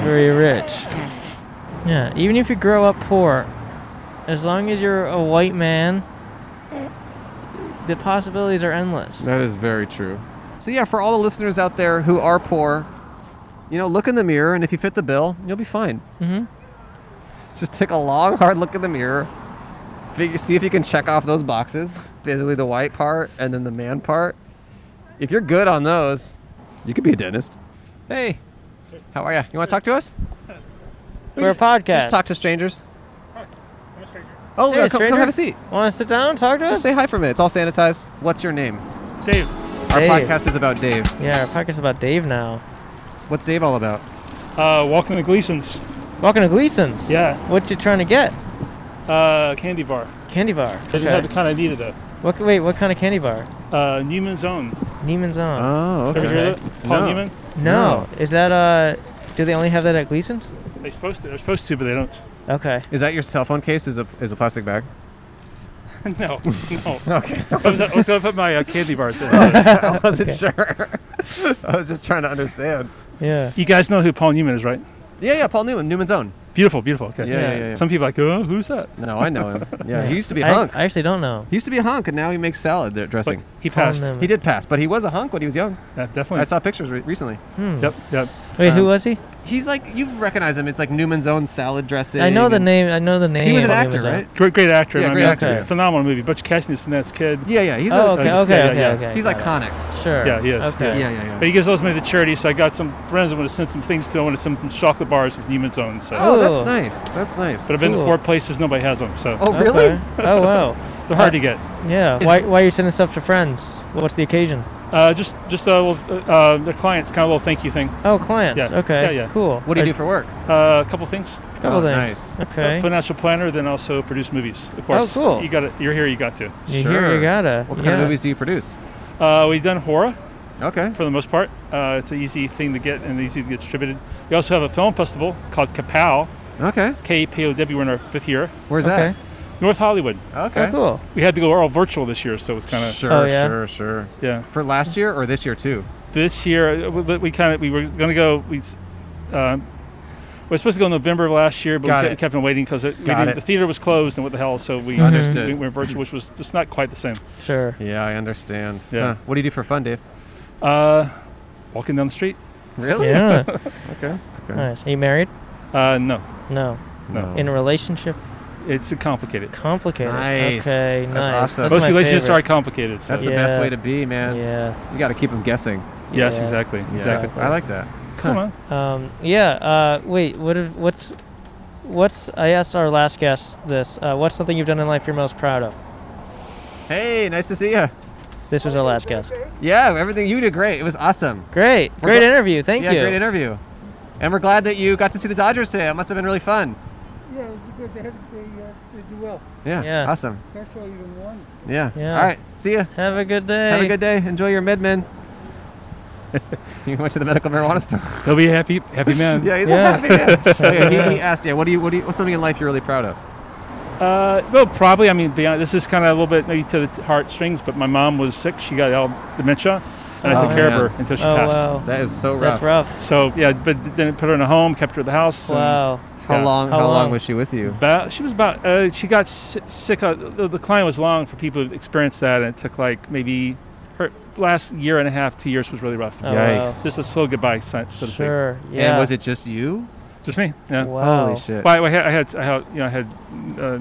[SPEAKER 1] very rich. Yeah, even if you grow up poor, as long as you're a white man, the possibilities are endless.
[SPEAKER 2] That is very true. So yeah, for all the listeners out there who are poor, you know, look in the mirror, and if you fit the bill, you'll be fine.
[SPEAKER 1] Mm-hmm.
[SPEAKER 2] Just take a long, hard look in the mirror. Figure, see if you can check off those boxes. Basically, the white part and then the man part. If you're good on those, you could be a dentist. Hey, how are you? You want to talk to us? We
[SPEAKER 1] We're a
[SPEAKER 2] just-
[SPEAKER 1] podcast.
[SPEAKER 2] Just talk to strangers. Oh, uh, come,
[SPEAKER 1] Hey,
[SPEAKER 2] come
[SPEAKER 1] stranger.
[SPEAKER 2] have a seat.
[SPEAKER 1] Want to sit down and talk to us?
[SPEAKER 2] Just say hi for a minute. It's all sanitized. What's your name?
[SPEAKER 1] Dave.
[SPEAKER 2] Our podcast is about Dave.
[SPEAKER 1] Yeah, our podcast is about Dave now.
[SPEAKER 2] What's Dave all about?
[SPEAKER 11] Uh, welcome to Gleason's.
[SPEAKER 1] Welcome to Gleason's.
[SPEAKER 11] Yeah.
[SPEAKER 1] What you trying to get?
[SPEAKER 11] Uh, candy bar.
[SPEAKER 1] Candy bar.
[SPEAKER 11] I just
[SPEAKER 1] Okay.
[SPEAKER 11] had kind of needed it.
[SPEAKER 1] What? Wait, what kind of candy bar?
[SPEAKER 11] Uh, Newman's Own.
[SPEAKER 1] Neiman's Own.
[SPEAKER 2] Oh,
[SPEAKER 11] Ever heard of it? Paul Newman?
[SPEAKER 1] No. Is that uh? Do they only have that at Gleason's?
[SPEAKER 11] They supposed to. They're supposed to, but they don't.
[SPEAKER 1] Okay.
[SPEAKER 2] Is that your cell phone case? Is a is a plastic bag?
[SPEAKER 11] no, no.
[SPEAKER 2] Okay.
[SPEAKER 11] I was, I was gonna put my uh, candy bars in.
[SPEAKER 2] Oh, I wasn't sure. I was just trying to understand.
[SPEAKER 1] Yeah.
[SPEAKER 11] You guys know who Paul Newman is, right?
[SPEAKER 2] Yeah, yeah. Paul Newman, Newman's Own.
[SPEAKER 11] Beautiful, beautiful. Okay.
[SPEAKER 2] Yeah, yeah, yeah.
[SPEAKER 11] Some people are like, oh, who's that?
[SPEAKER 2] No, I know him. Yeah, he used to be a
[SPEAKER 1] I-
[SPEAKER 2] hunk.
[SPEAKER 1] I actually don't know.
[SPEAKER 2] He used to be a hunk, and now he makes salad there- dressing.
[SPEAKER 11] he passed. Paul Newman.
[SPEAKER 2] He did pass, but he was a hunk when he was young.
[SPEAKER 11] Yeah, definitely.
[SPEAKER 2] I saw pictures re- recently.
[SPEAKER 1] Hmm.
[SPEAKER 11] Yep, yep.
[SPEAKER 1] Wait, who was he?
[SPEAKER 2] He's like you recognize him. It's like Newman's own salad dressing.
[SPEAKER 1] I know the
[SPEAKER 2] and-
[SPEAKER 1] name. I know the name.
[SPEAKER 2] He was an
[SPEAKER 1] of
[SPEAKER 2] actor,
[SPEAKER 1] Imager.
[SPEAKER 2] right?
[SPEAKER 11] Great, great actor.
[SPEAKER 2] Yeah,
[SPEAKER 11] man. I
[SPEAKER 2] great
[SPEAKER 11] mean,
[SPEAKER 2] actor. Yeah.
[SPEAKER 11] Phenomenal movie. Butch Cassidy Snett's kid.
[SPEAKER 2] Yeah, yeah, he's
[SPEAKER 1] Oh,
[SPEAKER 2] a-
[SPEAKER 1] okay,
[SPEAKER 11] yeah,
[SPEAKER 1] okay,
[SPEAKER 11] yeah,
[SPEAKER 1] okay,
[SPEAKER 11] yeah.
[SPEAKER 1] okay,
[SPEAKER 2] He's got iconic. it.
[SPEAKER 1] Sure.
[SPEAKER 11] Yeah, he is.
[SPEAKER 1] Okay.
[SPEAKER 11] yes.
[SPEAKER 1] Yeah, yeah, yeah.
[SPEAKER 11] But he gives those money to charity, so I got some friends. I'm going to send some things to. I want to send some chocolate bars with Newman's Own. So.
[SPEAKER 2] Oh, that's Ooh. nice. That's nice.
[SPEAKER 11] But I've been to
[SPEAKER 2] Cool.
[SPEAKER 11] four places. Nobody has them. So.
[SPEAKER 2] Oh, really? Okay.
[SPEAKER 1] Oh wow.
[SPEAKER 11] They're hard
[SPEAKER 1] Uh,
[SPEAKER 11] to get.
[SPEAKER 1] Yeah. Why, why are you sending stuff to friends? What's the occasion?
[SPEAKER 11] Uh, just just a little, uh, uh, the clients, kind of a little thank you thing.
[SPEAKER 1] Oh, clients.
[SPEAKER 11] Yeah.
[SPEAKER 1] Okay,
[SPEAKER 11] Yeah, yeah.
[SPEAKER 1] cool. What do you
[SPEAKER 11] I-
[SPEAKER 1] do for work?
[SPEAKER 11] Uh, a couple things.
[SPEAKER 1] Couple Oh, things. nice. Okay.
[SPEAKER 11] A financial planner, then also produce movies.
[SPEAKER 2] Oh,
[SPEAKER 11] Of course.
[SPEAKER 1] cool.
[SPEAKER 11] You got to You're here. You got to.
[SPEAKER 1] You here? You gotta.
[SPEAKER 2] What
[SPEAKER 1] yeah.
[SPEAKER 2] kind of movies do you produce?
[SPEAKER 11] Uh, we've done horror.
[SPEAKER 2] Okay.
[SPEAKER 11] For the most part, uh, it's an easy thing to get and easy to get distributed. We also have a film festival called Kapow.
[SPEAKER 2] Okay.
[SPEAKER 11] K P O W. We're in our fifth year.
[SPEAKER 2] Where's that? Okay.
[SPEAKER 11] North Hollywood.
[SPEAKER 2] Okay. Oh, cool.
[SPEAKER 11] We had to go all virtual this year, so it's kind of
[SPEAKER 2] Sure, Oh, yeah? sure, sure.
[SPEAKER 11] Yeah.
[SPEAKER 2] For last year or this year too?
[SPEAKER 11] This year, uh, we we kind of we were going to go. We s- uh, we were supposed to go in November of last year, but
[SPEAKER 2] Got
[SPEAKER 11] we, kept,
[SPEAKER 2] it.
[SPEAKER 11] we kept on waiting because
[SPEAKER 2] Got it.
[SPEAKER 11] the theater was closed and what the hell, so we
[SPEAKER 2] Mhm. Understood.
[SPEAKER 11] We went virtual, which was just not quite the same.
[SPEAKER 1] Sure.
[SPEAKER 2] Yeah, I understand.
[SPEAKER 11] Yeah.
[SPEAKER 2] Huh. What do you do for fun, Dave?
[SPEAKER 11] Uh, walking down the street.
[SPEAKER 2] Really?
[SPEAKER 1] Yeah.
[SPEAKER 2] okay. Okay.
[SPEAKER 1] Nice. Are you married?
[SPEAKER 11] Uh, no.
[SPEAKER 1] No.
[SPEAKER 2] Oh.
[SPEAKER 11] No.
[SPEAKER 1] In a relationship?
[SPEAKER 11] It's complicated.
[SPEAKER 1] Complicated.
[SPEAKER 2] Nice.
[SPEAKER 1] Okay.
[SPEAKER 2] That's
[SPEAKER 1] nice.
[SPEAKER 2] awesome.
[SPEAKER 1] That's
[SPEAKER 11] Most
[SPEAKER 1] my
[SPEAKER 11] relationships
[SPEAKER 1] favorite.
[SPEAKER 11] are complicated. So.
[SPEAKER 2] That's the best way to be, man.
[SPEAKER 1] Yeah.
[SPEAKER 2] You got to keep them guessing.
[SPEAKER 11] Yes, Yeah. exactly, exactly.
[SPEAKER 2] I like that.
[SPEAKER 11] Come on.
[SPEAKER 1] Um, yeah. Uh, wait. What? If, what's? What's? I asked our last guest this. Uh, what's something you've done in life you're most proud of?
[SPEAKER 2] Hey, nice to see you.
[SPEAKER 1] This was our last guest.
[SPEAKER 2] Yeah, everything you did great. It was awesome.
[SPEAKER 1] Great,
[SPEAKER 2] We're
[SPEAKER 1] great
[SPEAKER 2] gl-
[SPEAKER 1] interview. Thank
[SPEAKER 2] yeah,
[SPEAKER 1] you.
[SPEAKER 2] Great interview. And we're glad that you got to see the Dodgers today. It must have been really fun.
[SPEAKER 10] Yeah, it's good to have they, uh, they do well.
[SPEAKER 2] Yeah.
[SPEAKER 1] Yeah.
[SPEAKER 2] Awesome.
[SPEAKER 10] That's all you want.
[SPEAKER 2] Yeah.
[SPEAKER 1] Yeah.
[SPEAKER 2] All right. See ya.
[SPEAKER 1] Have a good day.
[SPEAKER 2] Have a good day. Enjoy your MedMen. you went to the medical marijuana store.
[SPEAKER 11] He'll be a happy, happy man.
[SPEAKER 2] yeah, he's
[SPEAKER 11] Yeah.
[SPEAKER 2] a happy man. Okay, he, he
[SPEAKER 11] Yeah.
[SPEAKER 2] asked, yeah, what do you, what do you, what's something in life you're really proud of?
[SPEAKER 11] Uh, well, probably. I mean, beyond, this is kind of a little bit maybe to the t- heartstrings, but my mom was sick. She got all dementia, and I
[SPEAKER 2] Oh,
[SPEAKER 11] took care
[SPEAKER 2] man.
[SPEAKER 11] of her until she
[SPEAKER 2] Oh,
[SPEAKER 11] passed.
[SPEAKER 2] wow. That is so
[SPEAKER 1] That's rough. rough.
[SPEAKER 11] So yeah, but then put her in a home, kept her at the house. and-
[SPEAKER 1] Wow.
[SPEAKER 2] How
[SPEAKER 11] yeah.
[SPEAKER 2] long? How, long? was she with you?
[SPEAKER 11] About, she was about. Uh, she got si- sick. Uh, the, the client was long for people who experienced that, and it took like maybe her last year and a half, two years was really rough.
[SPEAKER 1] Oh, wow.
[SPEAKER 2] Yikes.
[SPEAKER 11] Just a slow goodbye, so, so to speak.
[SPEAKER 1] Sure,
[SPEAKER 2] And yeah. was it just you?
[SPEAKER 11] Just me. Yeah.
[SPEAKER 1] Wow.
[SPEAKER 2] Holy shit.
[SPEAKER 11] Well, I, I had, I had, I had, you know, I had uh,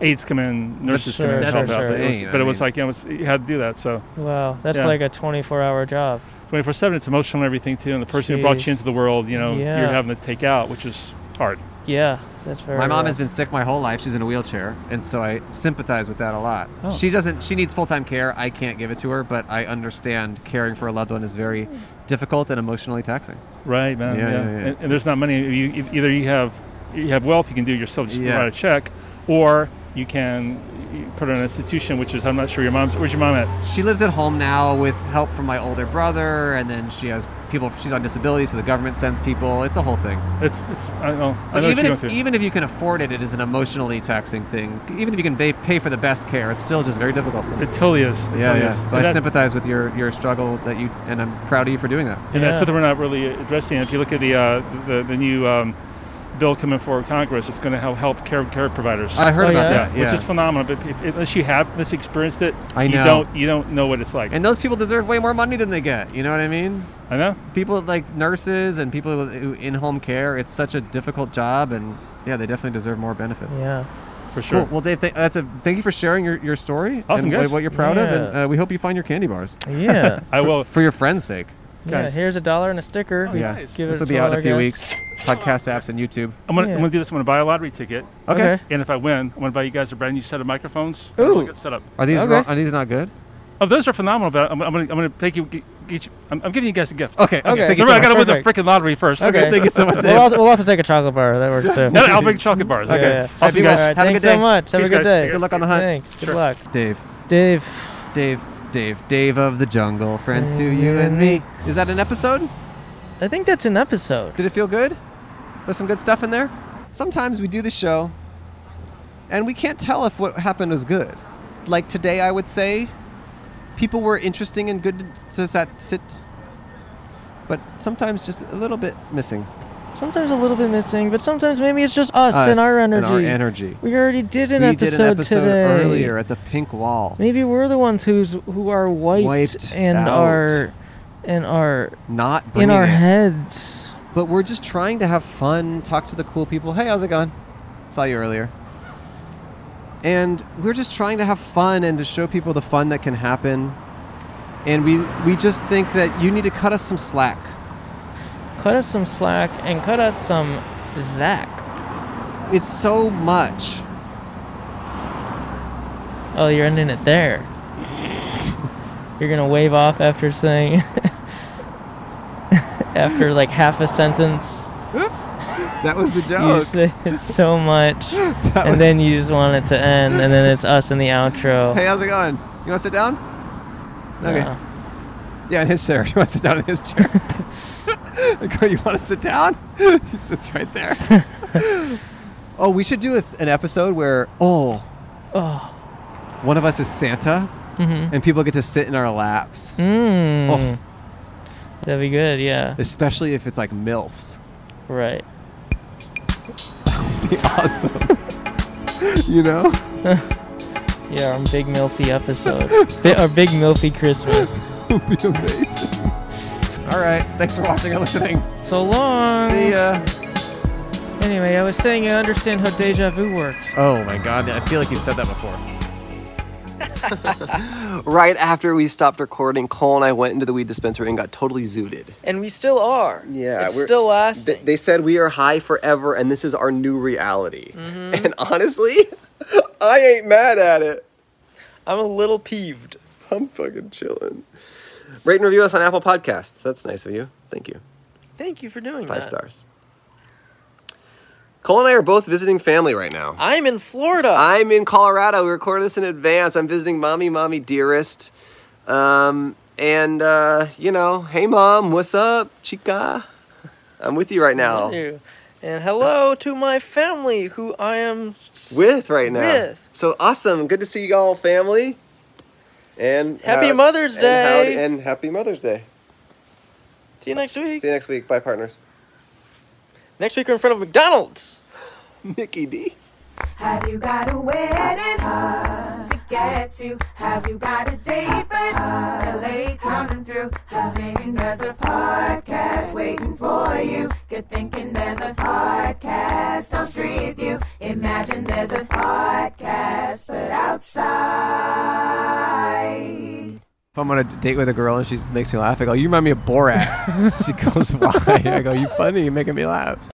[SPEAKER 11] aides come in, nurses come in,
[SPEAKER 1] Sure,
[SPEAKER 11] and help
[SPEAKER 1] sure,
[SPEAKER 11] out.
[SPEAKER 1] sure.
[SPEAKER 11] But, it was,
[SPEAKER 1] Insane, I
[SPEAKER 11] but it was
[SPEAKER 1] mean.
[SPEAKER 11] like, you know, it was, you had to do that. So.
[SPEAKER 1] Wow, that's like a 24-hour job.
[SPEAKER 11] 24 7, it's emotional and everything too. And the person who brought
[SPEAKER 1] Jeez.
[SPEAKER 11] you into the world, you know,
[SPEAKER 1] Yeah.
[SPEAKER 11] you're having to take out, which is hard.
[SPEAKER 1] Yeah, that's very.
[SPEAKER 2] my mom
[SPEAKER 1] rough.
[SPEAKER 2] has been sick my whole life. She's in a wheelchair, and so I sympathize with that a lot.
[SPEAKER 1] Oh.
[SPEAKER 2] She doesn't. She needs full time care. I can't give it to her, but I understand caring for a loved one is very difficult and emotionally taxing.
[SPEAKER 11] Right, man.
[SPEAKER 2] Yeah,
[SPEAKER 11] Yeah.
[SPEAKER 2] yeah, yeah.
[SPEAKER 11] And, and there's not many. You, you- e-, either you have you have wealth, you can do it yourself, just
[SPEAKER 2] Yeah.
[SPEAKER 11] write a check, or you can you put it in an institution, which is I'm not sure your mom's. Where's your mom at?
[SPEAKER 2] She lives at home now with help from my older brother, and then she has people. She's on disability, so the government sends people. It's a whole thing.
[SPEAKER 11] It's it's I know. I
[SPEAKER 2] But
[SPEAKER 11] know what
[SPEAKER 2] even
[SPEAKER 11] you're
[SPEAKER 2] if
[SPEAKER 11] going through.
[SPEAKER 2] even if you can afford it, it is an emotionally taxing thing. Even if you can ba- pay for the best care, it's still just very difficult.
[SPEAKER 11] It totally is. It
[SPEAKER 2] yeah,
[SPEAKER 11] totally
[SPEAKER 2] yeah.
[SPEAKER 11] is.
[SPEAKER 2] So
[SPEAKER 11] And
[SPEAKER 2] I
[SPEAKER 11] that's-
[SPEAKER 2] sympathize with your your struggle that you, and I'm proud of you for doing that.
[SPEAKER 11] And that's something we're not really addressing. If you look at the uh, the, the new um, bill coming forward Congress, it's going to help, help care care providers.
[SPEAKER 2] I heard Oh, about yeah? that,
[SPEAKER 11] which
[SPEAKER 2] yeah.
[SPEAKER 11] is phenomenal. But if, if- unless you have unless you experienced it,
[SPEAKER 2] I
[SPEAKER 11] you
[SPEAKER 2] know.
[SPEAKER 11] don't you don't know what it's like.
[SPEAKER 2] And those people deserve way more money than they get. You know what I mean?
[SPEAKER 11] I know.
[SPEAKER 2] People like nurses and people who in home care. It's such a difficult job, and yeah, they definitely deserve more benefits.
[SPEAKER 1] Yeah.
[SPEAKER 11] For sure.
[SPEAKER 2] Cool. Well, Dave, th- that's a thank you for sharing your, your story.
[SPEAKER 11] Awesome,
[SPEAKER 2] and what-
[SPEAKER 11] guys.
[SPEAKER 2] What you're proud of,
[SPEAKER 1] Yeah.
[SPEAKER 2] and uh, we hope you find your candy bars.
[SPEAKER 1] Yeah.
[SPEAKER 11] I
[SPEAKER 2] For-
[SPEAKER 11] will.
[SPEAKER 2] for your friends' sake.
[SPEAKER 1] Yeah,
[SPEAKER 11] Guys. Oh,
[SPEAKER 1] here's a dollar and a sticker.
[SPEAKER 2] yeah,
[SPEAKER 1] Oh, Give it
[SPEAKER 2] this will
[SPEAKER 1] to
[SPEAKER 2] be
[SPEAKER 1] all
[SPEAKER 2] out in
[SPEAKER 1] our
[SPEAKER 2] a few
[SPEAKER 1] guests.
[SPEAKER 2] weeks. Podcast apps and YouTube.
[SPEAKER 11] I'm gonna,
[SPEAKER 1] Yeah.
[SPEAKER 11] I'm gonna do this. I'm gonna buy a lottery ticket.
[SPEAKER 2] Okay.
[SPEAKER 1] Okay.
[SPEAKER 11] And if I win, I'm gonna buy you guys a brand new set of microphones.
[SPEAKER 2] Ooh.
[SPEAKER 11] I'll get set up.
[SPEAKER 2] Are these wrong, are these not good?
[SPEAKER 11] Oh, those are phenomenal. But I'm, I'm gonna I'm gonna take you. Get, get you I'm, I'm giving you guys a gift.
[SPEAKER 2] Okay, okay, Okay. thank you
[SPEAKER 11] Remember,
[SPEAKER 2] so
[SPEAKER 11] I gotta
[SPEAKER 2] much.
[SPEAKER 11] win the
[SPEAKER 2] Perfect.
[SPEAKER 11] freaking lottery first.
[SPEAKER 2] Okay, thank you so much,
[SPEAKER 1] We'll also, we'll also take a chocolate bar. That works too.
[SPEAKER 11] No, no, I'll bring chocolate bars.
[SPEAKER 1] Yeah,
[SPEAKER 11] Okay.
[SPEAKER 1] yeah.
[SPEAKER 11] Awesome,
[SPEAKER 1] All
[SPEAKER 11] guys.
[SPEAKER 1] right,
[SPEAKER 11] Have a
[SPEAKER 1] Thanks
[SPEAKER 11] good
[SPEAKER 1] so
[SPEAKER 11] day.
[SPEAKER 1] much. Have
[SPEAKER 11] Peace,
[SPEAKER 1] a good
[SPEAKER 11] guys.
[SPEAKER 1] day.
[SPEAKER 11] Good luck on the hunt.
[SPEAKER 1] Thanks. Good
[SPEAKER 11] Sure.
[SPEAKER 1] luck.
[SPEAKER 2] Dave.
[SPEAKER 1] Dave.
[SPEAKER 2] Dave. Dave. Dave of the jungle. Friends to you and me. Is that an episode?
[SPEAKER 1] I think that's an episode.
[SPEAKER 2] Did it feel good? There's some good stuff in there. Sometimes we do the show, and we can't tell if what happened was good. Like today, I would say, people were interesting and good to s- sit, but sometimes just a little bit missing.
[SPEAKER 1] Sometimes a little bit missing, but sometimes maybe it's just us,
[SPEAKER 2] Us
[SPEAKER 1] and our
[SPEAKER 2] and
[SPEAKER 1] energy.
[SPEAKER 2] our energy.
[SPEAKER 1] We already did an
[SPEAKER 2] we
[SPEAKER 1] episode,
[SPEAKER 2] did an episode
[SPEAKER 1] today.
[SPEAKER 2] earlier at the Pink Wall.
[SPEAKER 1] Maybe we're the ones who's who are wiped,
[SPEAKER 2] Wiped
[SPEAKER 1] and
[SPEAKER 2] out.
[SPEAKER 1] are and are
[SPEAKER 2] Not
[SPEAKER 1] in
[SPEAKER 2] bringing
[SPEAKER 1] our
[SPEAKER 2] it.
[SPEAKER 1] heads.
[SPEAKER 2] but we're just trying to have fun, talk to the cool people. Hey, how's it going? Saw you earlier. And we're just trying to have fun and to show people the fun that can happen. And we we just think that you need to cut us some slack.
[SPEAKER 1] Cut us some slack and cut us some Zach.
[SPEAKER 2] It's so much.
[SPEAKER 1] Oh, you're ending it there. you're gonna wave off after saying after like half a sentence.
[SPEAKER 2] That was the
[SPEAKER 1] You
[SPEAKER 2] joke.
[SPEAKER 1] say it's so much,
[SPEAKER 2] That was-
[SPEAKER 1] and then you just want it to end, and then it's us in the outro.
[SPEAKER 2] Hey, how's it going? You want to sit down? Okay.
[SPEAKER 1] No.
[SPEAKER 2] Yeah, in his chair. You want to sit down in his chair? I go, you want to sit down? he sits right there. oh, we should do a th- an episode where, oh,
[SPEAKER 1] Oh.
[SPEAKER 2] one of us is Santa
[SPEAKER 1] Mhm.
[SPEAKER 2] and people get to sit in our laps. Oh.
[SPEAKER 1] Mm. That'd be good, yeah.
[SPEAKER 2] Especially if it's like MILFs.
[SPEAKER 1] Right.
[SPEAKER 2] be awesome. you know?
[SPEAKER 1] Yeah, our big milfy episode. Bi- our big milfy Christmas.
[SPEAKER 2] It would be amazing. All right. Thanks for watching and listening.
[SPEAKER 1] So long.
[SPEAKER 2] See ya.
[SPEAKER 1] Anyway, I was saying I understand how deja vu works.
[SPEAKER 2] Oh my god, I feel like you've said that before.
[SPEAKER 12] Right after we stopped recording, Cole and I went into the weed dispensary and got totally zooted.
[SPEAKER 13] And we still are.
[SPEAKER 12] Yeah,
[SPEAKER 13] It's
[SPEAKER 12] we're-
[SPEAKER 13] still lasting.
[SPEAKER 12] They, they said we are high forever and this is our new reality. And honestly, I ain't mad at it.
[SPEAKER 13] I'm a little peeved.
[SPEAKER 12] I'm fucking chilling. Rate and review us on Apple Podcasts. That's nice of you. Thank you.
[SPEAKER 13] Thank you for doing
[SPEAKER 12] Five
[SPEAKER 13] that.
[SPEAKER 12] stars. Cole and I are both visiting family right now.
[SPEAKER 13] I'm in Florida.
[SPEAKER 12] I'm in Colorado. We recorded this in advance. I'm visiting mommy, mommy, dearest. Um, and, uh, you know, hey, mom, what's up, chica? I'm with you right now.
[SPEAKER 13] Thank you. And hello to my family who I am s-
[SPEAKER 12] With right now.
[SPEAKER 13] With.
[SPEAKER 12] So awesome. Good to see you all, family. And
[SPEAKER 13] Happy
[SPEAKER 12] uh,
[SPEAKER 13] Mother's
[SPEAKER 12] and howdy-
[SPEAKER 13] Day.
[SPEAKER 12] and happy Mother's Day.
[SPEAKER 13] See you next week.
[SPEAKER 12] See you next week. Bye, partners.
[SPEAKER 13] Next week we're in front of McDonald's.
[SPEAKER 12] Mickey D.
[SPEAKER 3] Have you got a wedding huh, to get to? Have you got a date but LA coming through? I'm thinking there's a podcast waiting for you. Good thinking there's a podcast on Street View. Imagine there's a podcast but outside.
[SPEAKER 2] If I'm on a date with a girl and she makes me laugh, I go, "You remind me of Borat." she goes, "Why?" I go, "You funny. You're making me laugh."